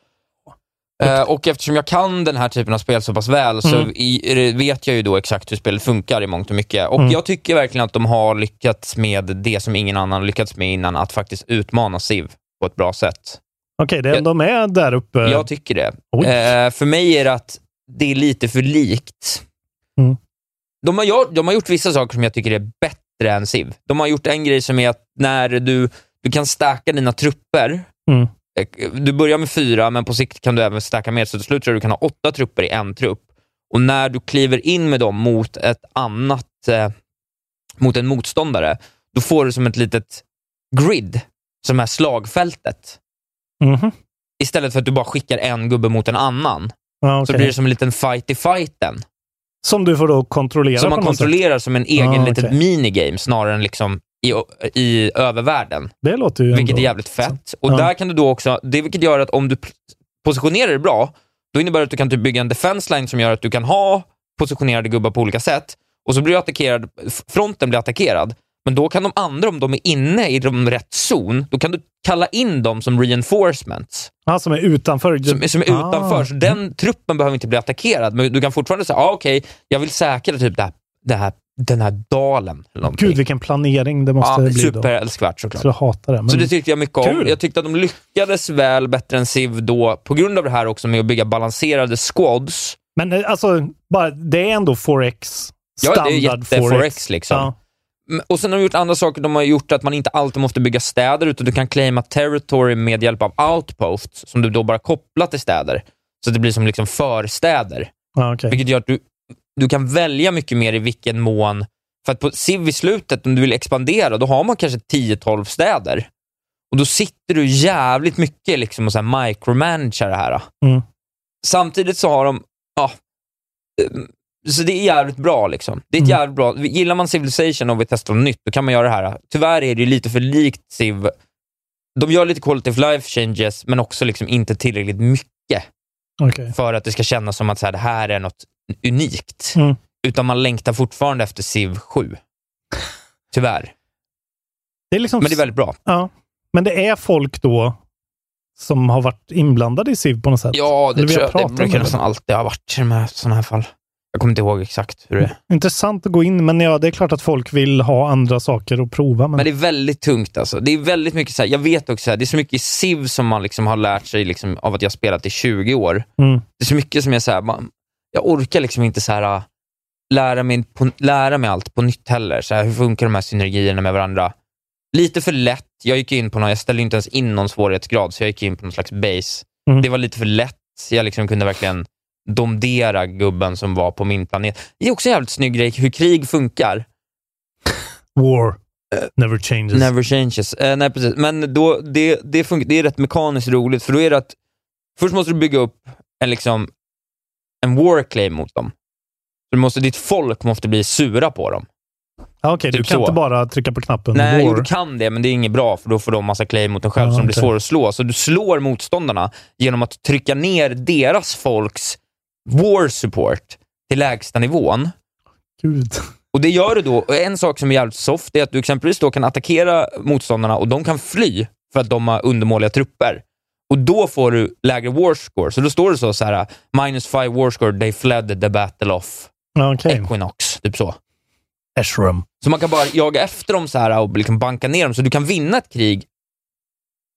Eh, och eftersom jag kan den här typen av spel så pass väl så
Mm.
i, är det- vet jag ju då exakt hur spelet funkar i mångt och mycket. Och
Mm.
jag tycker verkligen att de har lyckats med det som ingen annan har lyckats med innan, att faktiskt utmana Civ på ett bra sätt.
Okej, det är
Jag-
de är där uppe.
Jag tycker det.
Oj.
Eh, för mig är det att det är lite för likt.
Mm.
De, har gjort, de har gjort vissa saker som jag tycker är bättre än Civ. De har gjort en grej som är att när du, du kan stacka dina trupper,
Mm.
Eh, du börjar med fyra, men på sikt kan du även stacka mer, så till slut tror jag du kan ha åtta trupper i en trupp. Och när du kliver in med dem mot ett annat, eh, mot en motståndare, då får du som ett litet grid, som är slagfältet.
Mhm.
Istället för att du bara skickar en gubbe mot en annan.
Ja,
Så
okej.
blir det som en liten fight i fighten.
Som du får då kontrollera
Som man
på något sätt.
kontrollerar som en egen
Ah,
litet
okej.
minigame snarare än liksom i, i övervärlden.
Det låter ju
Vilket är
ändå...
jävligt fett. Och
Ja.
där kan du då också, det vilket gör att om du p- positionerar dig bra, då innebär det att du kan typ bygga en defense line som gör att du kan ha positionerade gubbar på olika sätt. Och så blir du attackerad, f- fronten blir attackerad. Men då kan de andra, om de är inne i de rätt zon, då kan du kalla in dem som reinforcements.
Han som är utanför.
som, som är
Ah.
utanför. Så den truppen behöver inte bli attackerad, men du kan fortfarande säga, ah, okej, jag vill säkra typ det här, det här, den här dalen. Eller någonting.
Gud vilken planering det måste
ja,
bli då.
superälskvärt såklart.
Så jag hatar det. Men
Så det tyckte jag mycket om.
Kul.
Jag tyckte att de lyckades väl bättre än Civ då, på grund av det här också med att bygga balanserade squads.
men eh, alltså, bara, det är ändå 4X
Ja, det är
standard
jätte-forex liksom.
Ja.
Mm, Och sen har de gjort andra saker. De har gjort att man inte alltid måste bygga städer, utan du kan claima territory med hjälp av outposts, som du då bara kopplar till städer. Så det blir som liksom förstäder,
Ja, okej.
vilket gör att du, du kan välja mycket mer i vilken mån... För att på Civ i slutet, om du vill expandera, då har man kanske 10-12 städer. Och då sitter du jävligt mycket liksom och så här micromanager det här.
Mm.
Samtidigt så har de, ja, ehm, så det är jävligt bra liksom. Det är ett
Mm.
jävligt bra, gillar man Civilization och vill testa något nytt, då kan man göra det här. Tyvärr är det ju lite för likt Civ. De gör lite quality of life changes, men också liksom inte tillräckligt mycket
Okej.
för att det ska kännas som att så här, det här är något unikt.
Mm.
Utan man längtar fortfarande efter Civ 7. Tyvärr.
Det är liksom...
Men det är väldigt bra.
ja. men det är folk då som har varit inblandade i SIV på något sätt?
Ja,
Eller
det
vi
tror
har
jag. Det
pratat om
brukar
det.
nästan alltid ha varit i de här, såna här fall. Jag kommer inte ihåg exakt hur det är.
Intressant att gå in, men ja, det är klart att folk vill ha andra saker att prova. Men,
Men det är väldigt tungt alltså. Det är väldigt mycket så här, jag vet också, så här, det är så mycket i SIV som man liksom har lärt sig liksom, av att jag har spelat i 20 år.
Mm.
Det är så mycket som jag så här, man, jag orkar liksom inte så här, äh, lära, mig på, lära mig allt på nytt heller. Så här, hur funkar de här synergierna med varandra? Lite för lätt. Jag gick in på någon, jag ställde inte ens in någon svårighetsgrad, så jag gick in på någon slags base.
Mm.
Det var lite för lätt. Jag liksom kunde verkligen domdera gubben som var på min planet. Det är också en jävligt snygg grej hur krig funkar.
War never changes.
Eh, Never changes. Eh, nej, precis. Men då, det, det, funkar, det är rätt mekaniskt roligt, för då är det att först måste du bygga upp en, liksom, en war claim mot dem. Du måste, ditt folk måste bli sura på dem.
Ja, Okej, du
typ
kan
så.
inte bara trycka på knappen
Nej, jo,
war.
du kan det, men det är inget bra, för då får de massa claim mot dem själv
Ja,
som blir
okej.
svåra att slå. Så du slår motståndarna genom att trycka ner deras folks war support till lägsta nivån.
Gud.
Och det gör du då. Och en sak som är jävligt soft är att du exempelvis då kan attackera motståndarna och de kan fly för att de har undermåliga trupper. Och då får du lägre warscore. Så då står det så, så här, minus five warscore, they fled the battle of
Ja, Okej.
Equinox. Typ så.
Ashram.
Så man kan bara jaga efter dem så här och liksom banka ner dem, så du kan vinna ett krig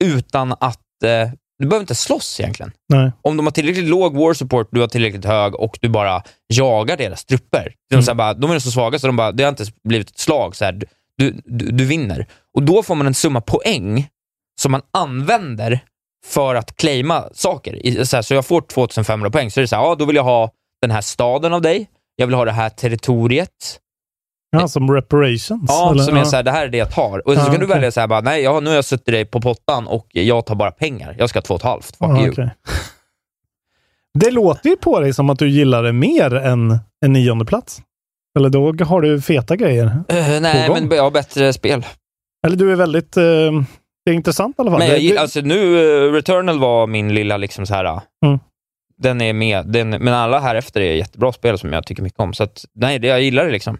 utan att... Eh, du behöver inte slåss egentligen.
Nej.
Om de har tillräckligt låg war support, du har tillräckligt hög och du bara jagar deras trupper. De,
Mm.
så här bara, de är så svaga så de bara, det har inte ens blivit ett slag. Så här, du, du, du, du vinner. Och då får man en summa poäng som man använder för att claima saker. I- Så, här, så jag får 2500 poäng, så är det så här, ja, då vill jag ha den här staden av dig. Jag vill ha det här territoriet.
Ja, som reparations?
Ja,
eller?
som är
Ja.
såhär, det här är det jag tar. Och så
Ja,
kan du
okej.
välja såhär, bara, nej, ja, nu har jag suttit dig på pottan och jag tar bara pengar. Jag ska ha två och ett halvt. Fuck
Ja,
you.
okej. Det låter ju på dig som att du gillar det mer än en nionde plats. Eller då har du feta grejer.
Eh, nej,
På gång.
men jag har bättre spel.
Eller du är väldigt... eh, det är intressant i alla fall.
Men
Det-
jag, gill-
det-
alltså nu, eh, Returnal var min lilla liksom såhär,
Mm.
den är med, den, men alla här efter är jättebra spel som jag tycker mycket om. Så att, nej, det, jag gillar det liksom.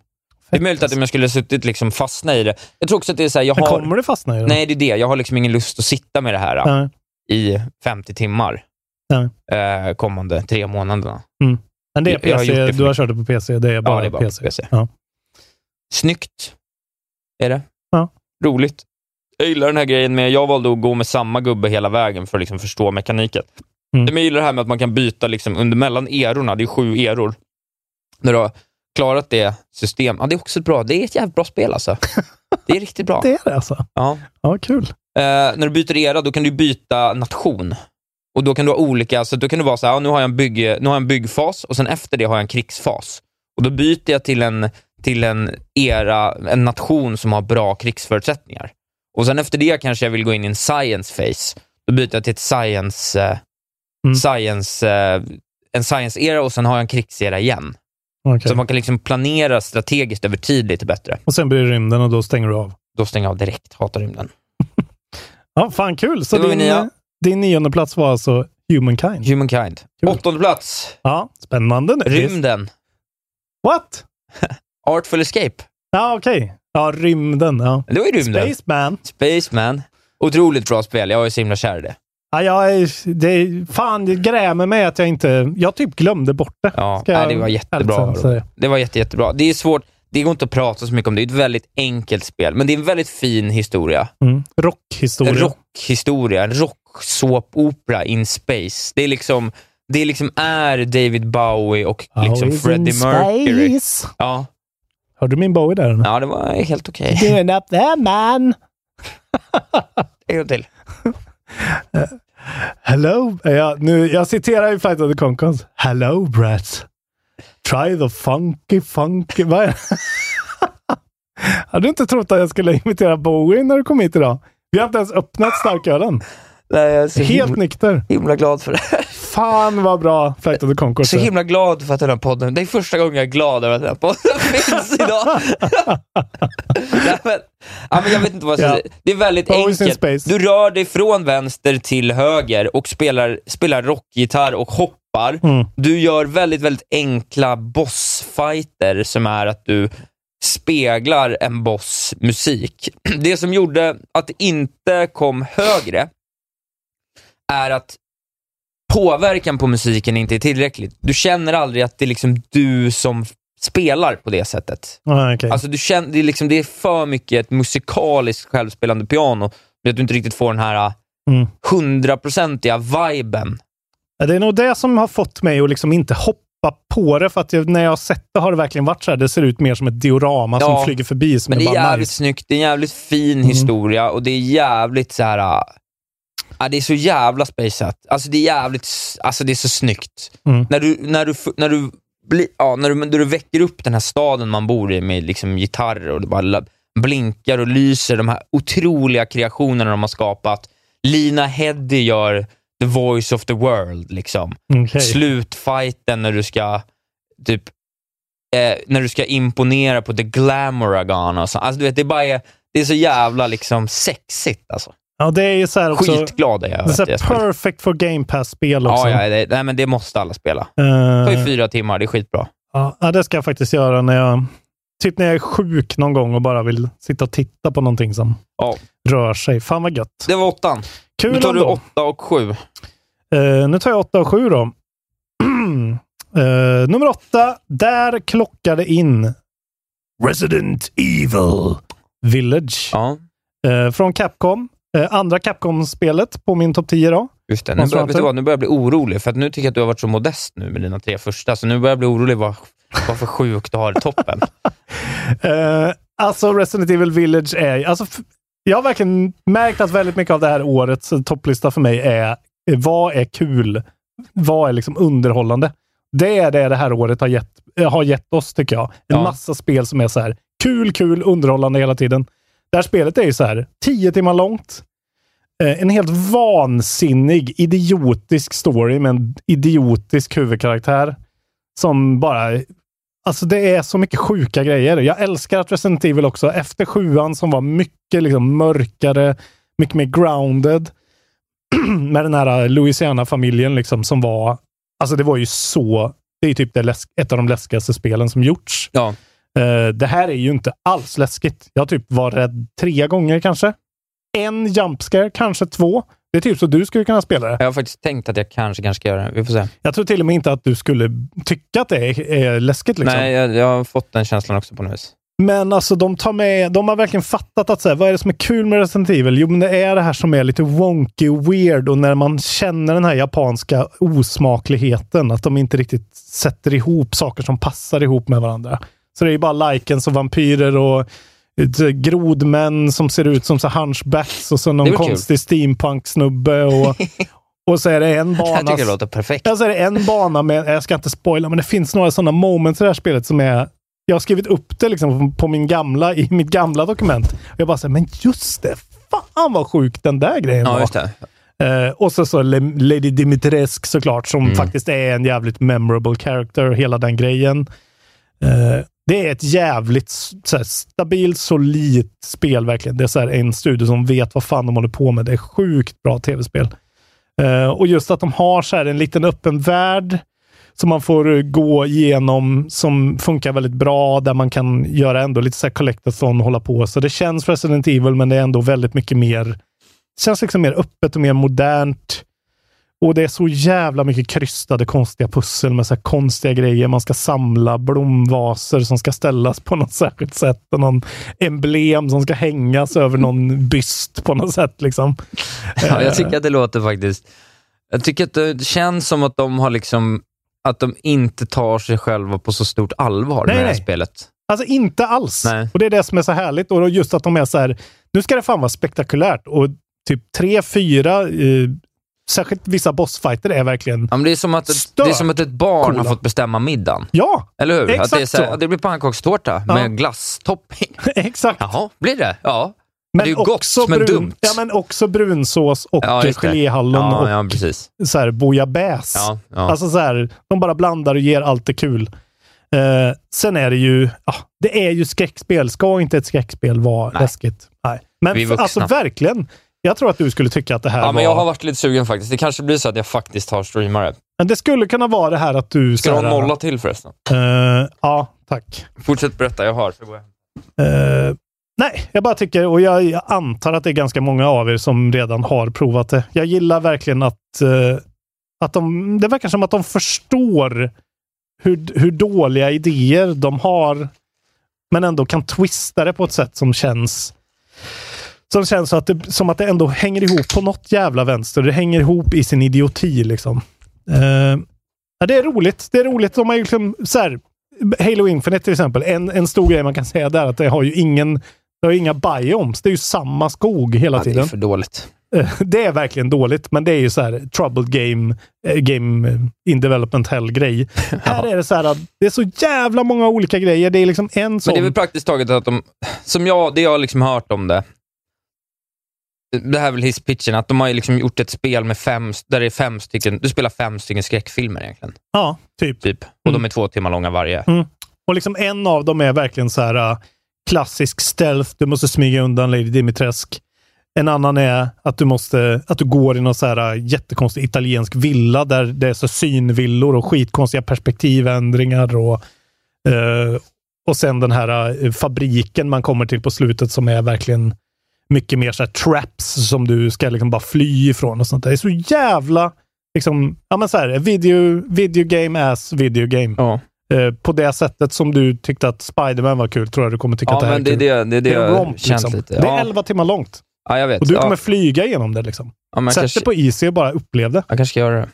Det är möjligt att om jag skulle suttit liksom fastna i det. Jag tror också att det är såhär, jag
Men
har,
kommer du fastna i det?
nej det är det, jag har liksom ingen lust att sitta med det här. ah,
Nej.
i 50 timmar
Ja.
eh, kommande tre månaderna.
Men det är
Jag har
PC.
gjort det för
du har kört det på PC. Det är bara,
ja, det är bara
PC.
PC. PC.
Ja.
Snyggt är det.
Ja.
Roligt. Jag gillar den här grejen med, jag valde att gå med samma gubbe hela vägen för att liksom förstå mekaniken.
Mm.
Men jag gillar det här med att man kan byta liksom under mellan erorna, det är sju eror. När du har klarat det systemet, ja, det är också bra, det är ett jävligt bra spel alltså. Det är riktigt bra.
Det är det alltså?
Ja.
Ja, kul.
Eh, när du byter era, då kan du byta nation. Och då kan du ha olika, så då kan du vara så här, ja, nu har jag en, bygg, nu har jag en byggfas och sen efter det har jag en krigsfas. Och då byter jag till en, till en era, en nation som har bra krigsförutsättningar. Och sen efter det kanske jag vill gå in i en science phase. Då byter jag till ett science, eh,
Mm.
science, eh, en science era och sen har jag en krigsera igen.
Okej.
Så man kan liksom planera strategiskt över tid lite bättre.
Och sen blir det rymden och då stänger du av.
Då stänger jag av direkt, hatar rymden.
Ja, fan kul. Så
Det var
din,
min nia.
eh, din nionde plats var alltså Humankind.
Humankind.
Kul.
Åttonde plats,
Ja, spännande. nu.
rymden.
What?
Artful Escape.
Ja, okej. Ja, rymden. Ja.
Det var ju rymden.
Spaceman.
Spaceman. Otroligt bra spel. Jag är så himla kär i det.
Ja, jag är, det, är- fan, det grämer mig att jag inte... Jag typ glömde bort det.
Ja,
Ska
nej,
jag
det var jättebra.
ärligt säga.
Det var jätte, jättebra. Det är svårt. Det går inte att prata så mycket om det. Det är ett väldigt enkelt spel, men det är en väldigt fin historia.
Mm.
En
Rockhistoria.
rockhistoria. En rocksåpopera in space. Det är liksom, det liksom är David Bowie och liksom
Always in
Freddie Mercury.
space.
Ja.
Hörde du min Bowie där? eller?
Ja, det var helt okej.
Doing up there man!
En gång till.
Hello! Ja, nu, jag citerar ju Flight of the Conchords. Hello brats! Try the funky funky... Vad är det? Hade du inte trott att jag skulle imitera Bowie när du kom hit idag? Vi har inte ens öppnat starkölen.
Nej, jag är så
Helt
himla,
nykter.
himla glad för det här.
Fan vad bra Flight of the Conchords
Så
är.
himla glad för att den här podden... Det är första gången jag är glad över att den här podden finns idag. Nej, men, ja, men jag vet inte vad jag ska
Ja.
säga. Det är väldigt
Always in
enkelt.
space.
Du rör dig från vänster till höger och spelar, spelar rockgitarr och hoppar.
Mm.
Du gör väldigt, väldigt enkla bossfighter som är att du speglar en boss musik. Det som gjorde att det inte kom högre är att påverkan på musiken inte är tillräckligt. Du känner aldrig att det är liksom du som spelar på det sättet.
Ah, okej.
Alltså du känner, det, är liksom, det är för mycket ett musikaliskt självspelande piano, men att du inte riktigt får den här äh,
Mm.
hundraprocentiga viben.
Ja, Det är nog det som har fått mig att liksom inte hoppa på det, för att jag, när jag har sett det har det verkligen varit så här. Det ser ut mer som ett diorama
Ja,
som flyger förbi. Som
Men det
är
är
bara
jävligt
nice.
snyggt, det är en jävligt fin
Mm.
historia och det är jävligt så här. ah, ah, det är så jävla spaceat. Alltså det är jävligt, s- alltså det är så snyggt.
Mm.
När, du, när, du, f- när, du bli, ja, när, du, när du väcker upp den här staden man bor i med liksom gitarrer och det bara la- blinkar och lyser, de här otroliga kreationerna de har skapat. Lina Heddy gör the voice of the world. liksom
Okej.
slutfighten när du ska typ eh, när du ska imponera på the glamouragon och så. Alltså du vet, det är bara är, det är så jävla liksom sexigt alltså.
Ja, det är ju så här också.
Skitglad är jag
Det är
över
så
att
här
jag spelar.
perfect for Game Pass-spel också.
Ja, ja, det, nej, men det måste alla spela. Det tar ju
Eh,
fyra timmar, det är skitbra.
ja, ja, det ska jag faktiskt göra när jag, typ när jag är sjuk någon gång och bara vill sitta och titta på någonting som
Ja.
rör sig. Fan vad gött.
Det var åttan. Nu
Kul
tar du
ändå.
åtta och sju.
Eh, nu tar jag 8 och 7 då. Eh, nummer 8. Där klockade in Resident Evil Village.
Ja,
Eh, från Capcom. Eh, andra Capcom-spelet på min topp 10 då.
just det. Nu
Måste
börjar,
jag
vet du
ta-
vad, nu börjar jag bli orolig, för att nu tycker jag att du har varit så modest nu med dina tre första, så nu börjar jag bli orolig vad, vad för sjukt du har i toppen.
Eh, alltså Resident Evil Village är... Alltså, f- jag har verkligen märkt att väldigt mycket av det här årets eh, topplista för mig är eh, vad är kul? Vad är liksom underhållande? Det är det det här året har gett, eh, har gett oss, tycker jag. En
Ja.
massa spel som är så här kul, kul, underhållande hela tiden. Det här spelet är ju så här tio timmar långt. Eh, en helt vansinnig, idiotisk story med en idiotisk huvudkaraktär som bara Alltså det är så mycket sjuka grejer. Jag älskar att Resident Evil också, efter sjuan som var mycket liksom mörkare, mycket mer grounded. med den här Louisiana-familjen liksom som var... Alltså det var ju så... Det är ju typ det läsk, ett av de läskigaste spelen som gjorts.
Ja.
Eh, det här är ju inte alls läskigt. Jag typ var rädd tre gånger kanske. En jump scare, kanske två. Det är typ så du skulle kunna spela det.
Jag har faktiskt tänkt att jag kanske, kanske ska göra det. Vi får se.
Jag tror till och med inte att du skulle tycka att det är, är läskigt. Liksom.
Nej, jag, jag har fått den känslan också på något vis.
Men alltså de tar med, de har verkligen fattat att så här, vad är det som är kul med Resident Evil? Jo, men det är det här som är lite wonky och weird och när man känner den här japanska osmakligheten, att de inte riktigt sätter ihop saker som passar ihop med varandra. Så det är ju bara likens och vampyrer och eh, grodmän som ser ut som så här hunchbacks och så
Det är
någon
väl kul.
konstig steampunk-snubbe och, och så är det en
Jag tycker
bana
det låter perfekt.
Alltså är det en bana med, jag ska inte spoila, men det finns några sådana moments i det här spelet som är... Jag har skrivit upp det liksom på min gamla, i mitt gamla dokument. Jag bara säger, men just det! Fan vad sjukt den där grejen
Ja,
var.
just det.
Eh, och så, så Le- Lady Dimitrescu såklart, som faktiskt är en jävligt memorable character, hela den grejen. Eh, det är ett jävligt s- så här, stabilt, solitt spel verkligen. Det är så här, en studio som vet vad fan de håller på med. Det är sjukt bra tv-spel. Eh, och just att de har så här, en liten öppen värld som man får eh, gå igenom, som funkar väldigt bra, där man kan göra ändå lite så här collectathon och hålla på. Så det känns Resident Evil, men det är ändå väldigt mycket mer det känns liksom mer öppet och mer modernt. Och det är så jävla mycket krystade konstiga pussel med så här konstiga grejer. Man ska samla blomvaser som ska ställas på något särskilt sätt och någon emblem som ska hängas över någon byst på något sätt. Liksom.
Ja, jag tycker att det låter faktiskt... Jag tycker att det känns som att de har liksom... Att de inte tar sig själva på så stort allvar
Nej,
med det här
nej.
spelet.
Alltså inte alls.
Nej.
Och det är det som är så härligt. Och just att de är så här, nu ska det fan vara spektakulärt. Och typ tre, fyra, eh, särskilt vissa bossfighter är verkligen,
Ja, men det, är som att ett, det
Stört
är som att ett barn
coola.
har fått bestämma middagen.
ja,
Eller hur?
Exakt
att det, är så här,
så.
ja, det blir pannkakstårta
Ja.
med glasstopping.
exakt.
Jaha, blir det? Ja. det är ju gott, men dumt.
Ja, men också brunsås och
Ja,
ja,
just det.
geléhallon
Ja,
och
ja, precis.
så här bouillabaisse.
Ja, ja.
Alltså så här, de bara blandar och ger allt det kul. Eh, sen är det ju, ja, det är ju skräckspel. Ska inte ett skräckspel vara
Nej.
läskigt? Nej. Men
Vi är vuxna.
alltså verkligen. Jag tror att du skulle tycka att det här
ja,
var...
men jag har varit lite sugen faktiskt. Det kanske blir så att jag faktiskt har streamare.
Men det skulle kunna vara det här att du...
Ska du
så
ha
här,
en nolla till förresten?
eh, ja, tack.
Fortsätt berätta, jag hör. Så går jag.
Eh, nej, jag bara tycker, och jag, jag antar att det är ganska många av er som redan har provat det. Jag gillar verkligen att, eh, att de, det verkar som att de förstår hur, hur dåliga idéer de har, men ändå kan twista det på ett sätt som känns som känns så att det, som att det ändå hänger ihop på något jävla vänster. Det hänger ihop i sin idioti liksom. Eh, ja, det är roligt. Det är roligt. De har ju liksom, så här, Halo Infinite till exempel. En, en stor grej man kan säga där är att det har ju ingen, det har ju inga biomes. Det är ju samma skog hela
Ja, det är
tiden.
för dåligt.
Eh, Det är verkligen dåligt, men det är ju så här troubled game, eh, game in development hell-grej. Här är det så här att det är så jävla många olika grejer. Det är liksom en
Men
sån...
det är väl praktiskt taget att de, som jag, det jag har liksom hört om det, det här är väl hisspitchen, att de har ju liksom gjort ett spel med fem, där det är fem stycken, du spelar fem stycken skräckfilmer egentligen.
Ja, typ.
Typ. Och
Mm.
de är två timmar långa varje.
Och liksom en av dem är verkligen så här äh, klassisk stealth. Du måste smyga undan Lady Dimitrescu. En annan är att du måste, att du går i någon så här äh, jättekonstig italiensk villa där det är så synvillor och skitkonstiga perspektivändringar och eh, och sen den här äh, fabriken man kommer till på slutet som är verkligen mycket mer så här traps som du ska liksom bara fly ifrån och sånt där. Det är så jävla liksom, ja men så här, video, video game as video game.
Ja,
Eh, på det sättet som du tyckte att Spiderman var kul, tror jag du kommer tycka att
ja
det här
men det
är
är
kul.
det, det,
Det
är det
är en
jag
romp,
känt
liksom.
lite.
Det är
Ja,
11 timmar långt.
ja, jag vet.
Och du kommer
ja,
flyga genom det. Liksom.
ja, men jag,
Sätt
kanske,
det på IC och bara upplev det.
jag kanske ska göra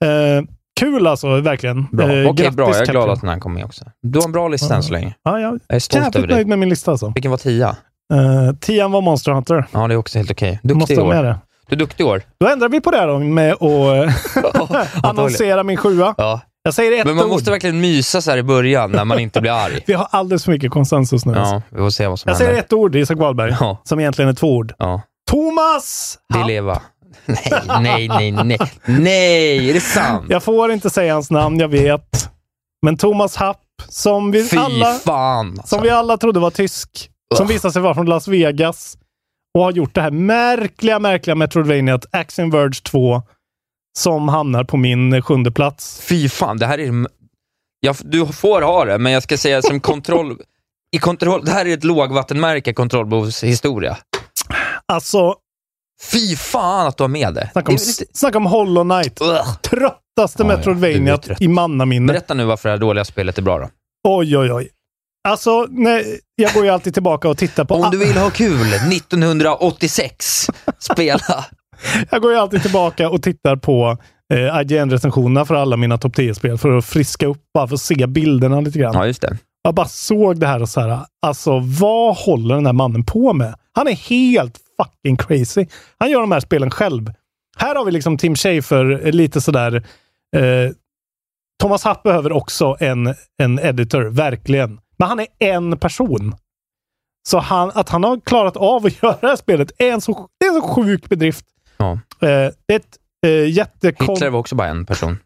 det.
Eh, kul alltså, verkligen.
Bra. Okej,
Eh, grattis,
bra. Jag är glad
Captain.
att den här kom med också. Du har en bra lista än så länge.
Ja, jag
Jag är stolt
är jävligt
över dig.
nöjd med min lista alltså.
Vilken var tia?
Eh, tian var Monster Hunter.
Ja, det är också helt okej.
Måste
Duktig i
ha med
år.
det.
Du är duktig i år.
Då ändrar vi på det då med att eh,
Antagligen.
annonsera min sjua.
Ja.
Jag säger ett
Men man
ord.
måste verkligen mysa så här i början när man inte blir arg.
Vi har alldeles för mycket konsensus nu. alltså.
Ja, vi får se vad som
Jag säger
händer.
ett ord, Isak Wahlberg,
Ja.
som egentligen är två ord.
Ja.
Thomas!
Det är leva. Nej, nej, nej, nej. Nej, är det sant?
Jag får inte säga hans namn, jag vet. Men Thomas Happ, som vi,
Fy
alla,
fan. alltså.
som vi alla trodde var tysk, som
Ugh.
visade sig vara från Las Vegas och har gjort det här märkliga, märkliga Metroidvaniat Axiom Verge 2 som hamnar på min sjunde plats.
Fy fan, det här är... Jag, du får ha det, men jag ska säga som kontroll... I kontroll, det här är ett lågvattenmärke, kontrollbehovs historia.
Alltså,
Fy fan att du har med det.
snacka om,
det är lite,
snacka om Hollow Knight.
Ugh.
Tröttaste
Ja, ja,
Metroidvaniat
du är trött.
i mannaminne.
Berätta nu varför det här dåliga spelet är bra då.
Oj, oj, oj. Alltså, nej, jag går ju alltid tillbaka och tittar på...
Om du vill ha kul, 1986, spela.
Jag går ju alltid tillbaka och tittar på eh, IGN-recensionerna för alla mina topp 10-spel för att friska upp, bara för att se bilderna lite grann.
Ja, just det.
Jag bara såg det här och så här, alltså vad håller den här mannen på med? Han är helt fucking crazy. Han gör de här spelen själv. Här har vi liksom Tim Schafer, eh, lite sådär... Eh, Thomas Happ behöver också en, en editor, verkligen. Men han är en person. Så han, att han har klarat av att göra det här spelet är en så, det är en så sjuk bedrift.
Ja.
Eh, det är ett eh, jättekon...
Hitler var också bara en person.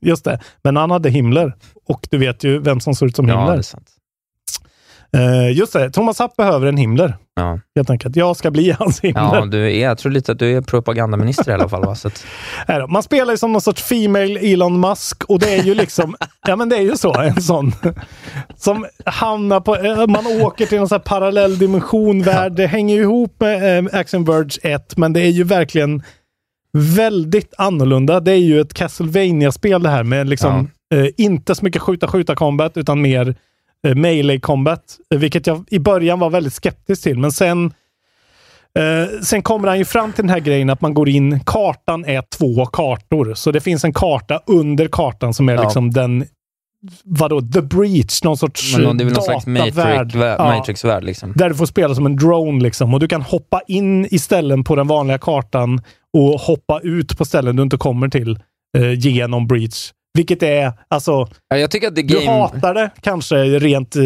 Just det. Men han hade Himmler. Och du vet ju vem som ser ut som
Ja, det
Himmler.
är sant.
Eh, just det, Thomas Happ behöver en Himmler.
Ja.
Helt enkelt. Jag ska bli hans Himmler.
Ja, du är, jag tror lite att du är propagandaminister i alla fall. Va? Så att,
Här då. Man spelar ju som någon sorts Female Elon Musk och det är ju liksom, ja men det är ju så, en sån som hamnar på, eh, man åker till någon sån här parallell dimension värld. Det hänger ju ihop med eh, Action Verge 1, men det är ju verkligen väldigt annorlunda. Det är ju ett Castlevania-spel det här med liksom eh, inte så mycket skjuta-skjuta-combat utan mer eh, melee-combat, eh, vilket jag i början var väldigt skeptisk till, men sen Eh, sen kommer han ju fram till den här grejen att man går in, kartan är två kartor. Så det finns en karta under kartan som är
Ja.
liksom den vadå, The Breach, någon sorts
Men det är väl någon slags
datavärld.
Matrix, vä-
Ja.
Matrix-värld liksom.
Där du får spela som en drone liksom och du kan hoppa in i ställen på den vanliga kartan och hoppa ut på ställen du inte kommer till eh, genom Breach. Vilket är, alltså,
Ja, jag tycker att det
du
game...
hatar det kanske rent... eh,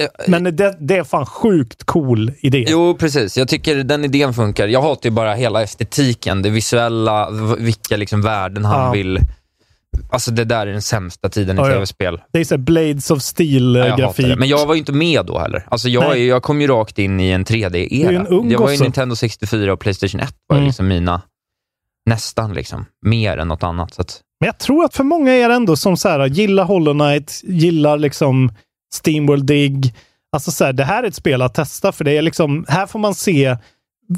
Eh,
Men det, det är fan sjukt cool idé.
Jo, precis. Jag tycker den idén funkar. Jag hatar ju bara hela estetiken, det visuella, v- vilka liksom värden han
Ja.
vill... Alltså det där är den sämsta tiden i
Ja, ja.
tv-spel.
Det är så här Blades of eh,
Ja, jag hatar
Steel-grafik.
det. Men jag var ju inte med då heller. Alltså jag,
Nej.
är- jag kom ju rakt in i en
Du är en
3D-era.
ung
Jag var ju
gosse.
Nintendo 64 och Playstation 1 var ju
Mm.
liksom mina, nästan liksom, mer än något annat. Så att,
Men jag tror att för många är det ändå som så här, gillar Hollow Knight, gillar liksom Steamworld Dig. Alltså så här, det här är ett spel att testa för det är liksom, här får man se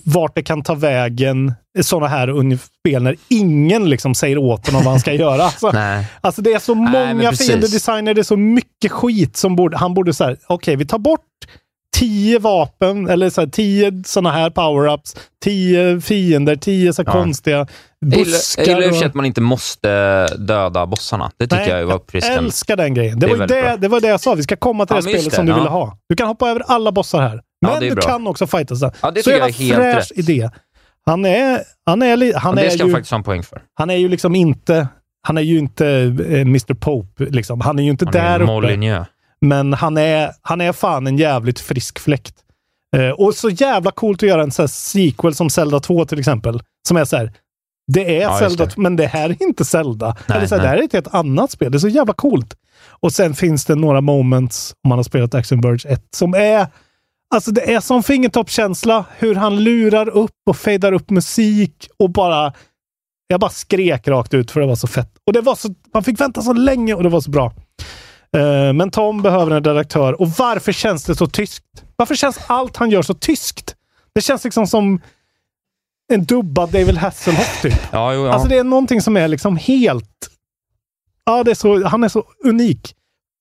vart det kan ta vägen i sådana här ungef- spel när ingen liksom säger åt honom vad han ska göra. Alltså,
nej.
alltså det är så
Nej, men
många
precis.
fiendedesigner, det är så mycket skit som borde, han borde så här, okej vi tar bort tio vapen eller så här, tio sådana här power-ups, tio fiender, tio så här
Ja.
konstiga
Jag gillar-
buskar.
jag gillar i och för
och-
sig att man inte måste döda bossarna. Det tycker
Nej,
jag var uppfriskande.
älskar den grejen. Det,
Det är
var ju
väldigt
det,
bra.
det var det jag sa. Vi ska komma till
Ja,
det
men just
spelet
det,
som du
ja.
ville ha. Du kan hoppa över alla bossar här.
Ja,
Men
det är
du
bra.
kan också fightas där.
Ja, det
Så
tycker jag
jävla
är helt
fräsch
rätt.
idé. Han är, han är, li- han
Och
är,
det ska han
ju,
faktiskt ha en poäng för.
han är ju liksom inte, han är ju inte eh, Mr Pope liksom. Han är ju inte
Han är
där
ju
uppe.
Molyneux.
Men han är, han är fan en jävligt frisk fläkt. Eh, och så jävla coolt att göra en sån här sequel som Zelda 2 till exempel. Som är så här, det är
Ja, just
Zelda
det.
2, men det här är inte Zelda.
Nej,
Eller så här, det
nej.
här är ett helt annat spel. Det är så jävla coolt. Och sen finns det några moments, om man har spelat Action Verge 1, som är... Alltså det är som fingertoppkänsla, hur han lurar upp och fejdar upp musik och bara... Jag bara skrek rakt ut för det var så fett. Och det var så... Man fick vänta så länge och det var så bra. Eh, Men Tom behöver en redaktör. Och varför känns det så tyskt? Varför känns allt han gör så tyskt? Det känns liksom som en dubbad David Hasselhoff typ.
Ja, jo, ja.
Alltså det är någonting som är liksom helt... Ja, det är så, han är så unik.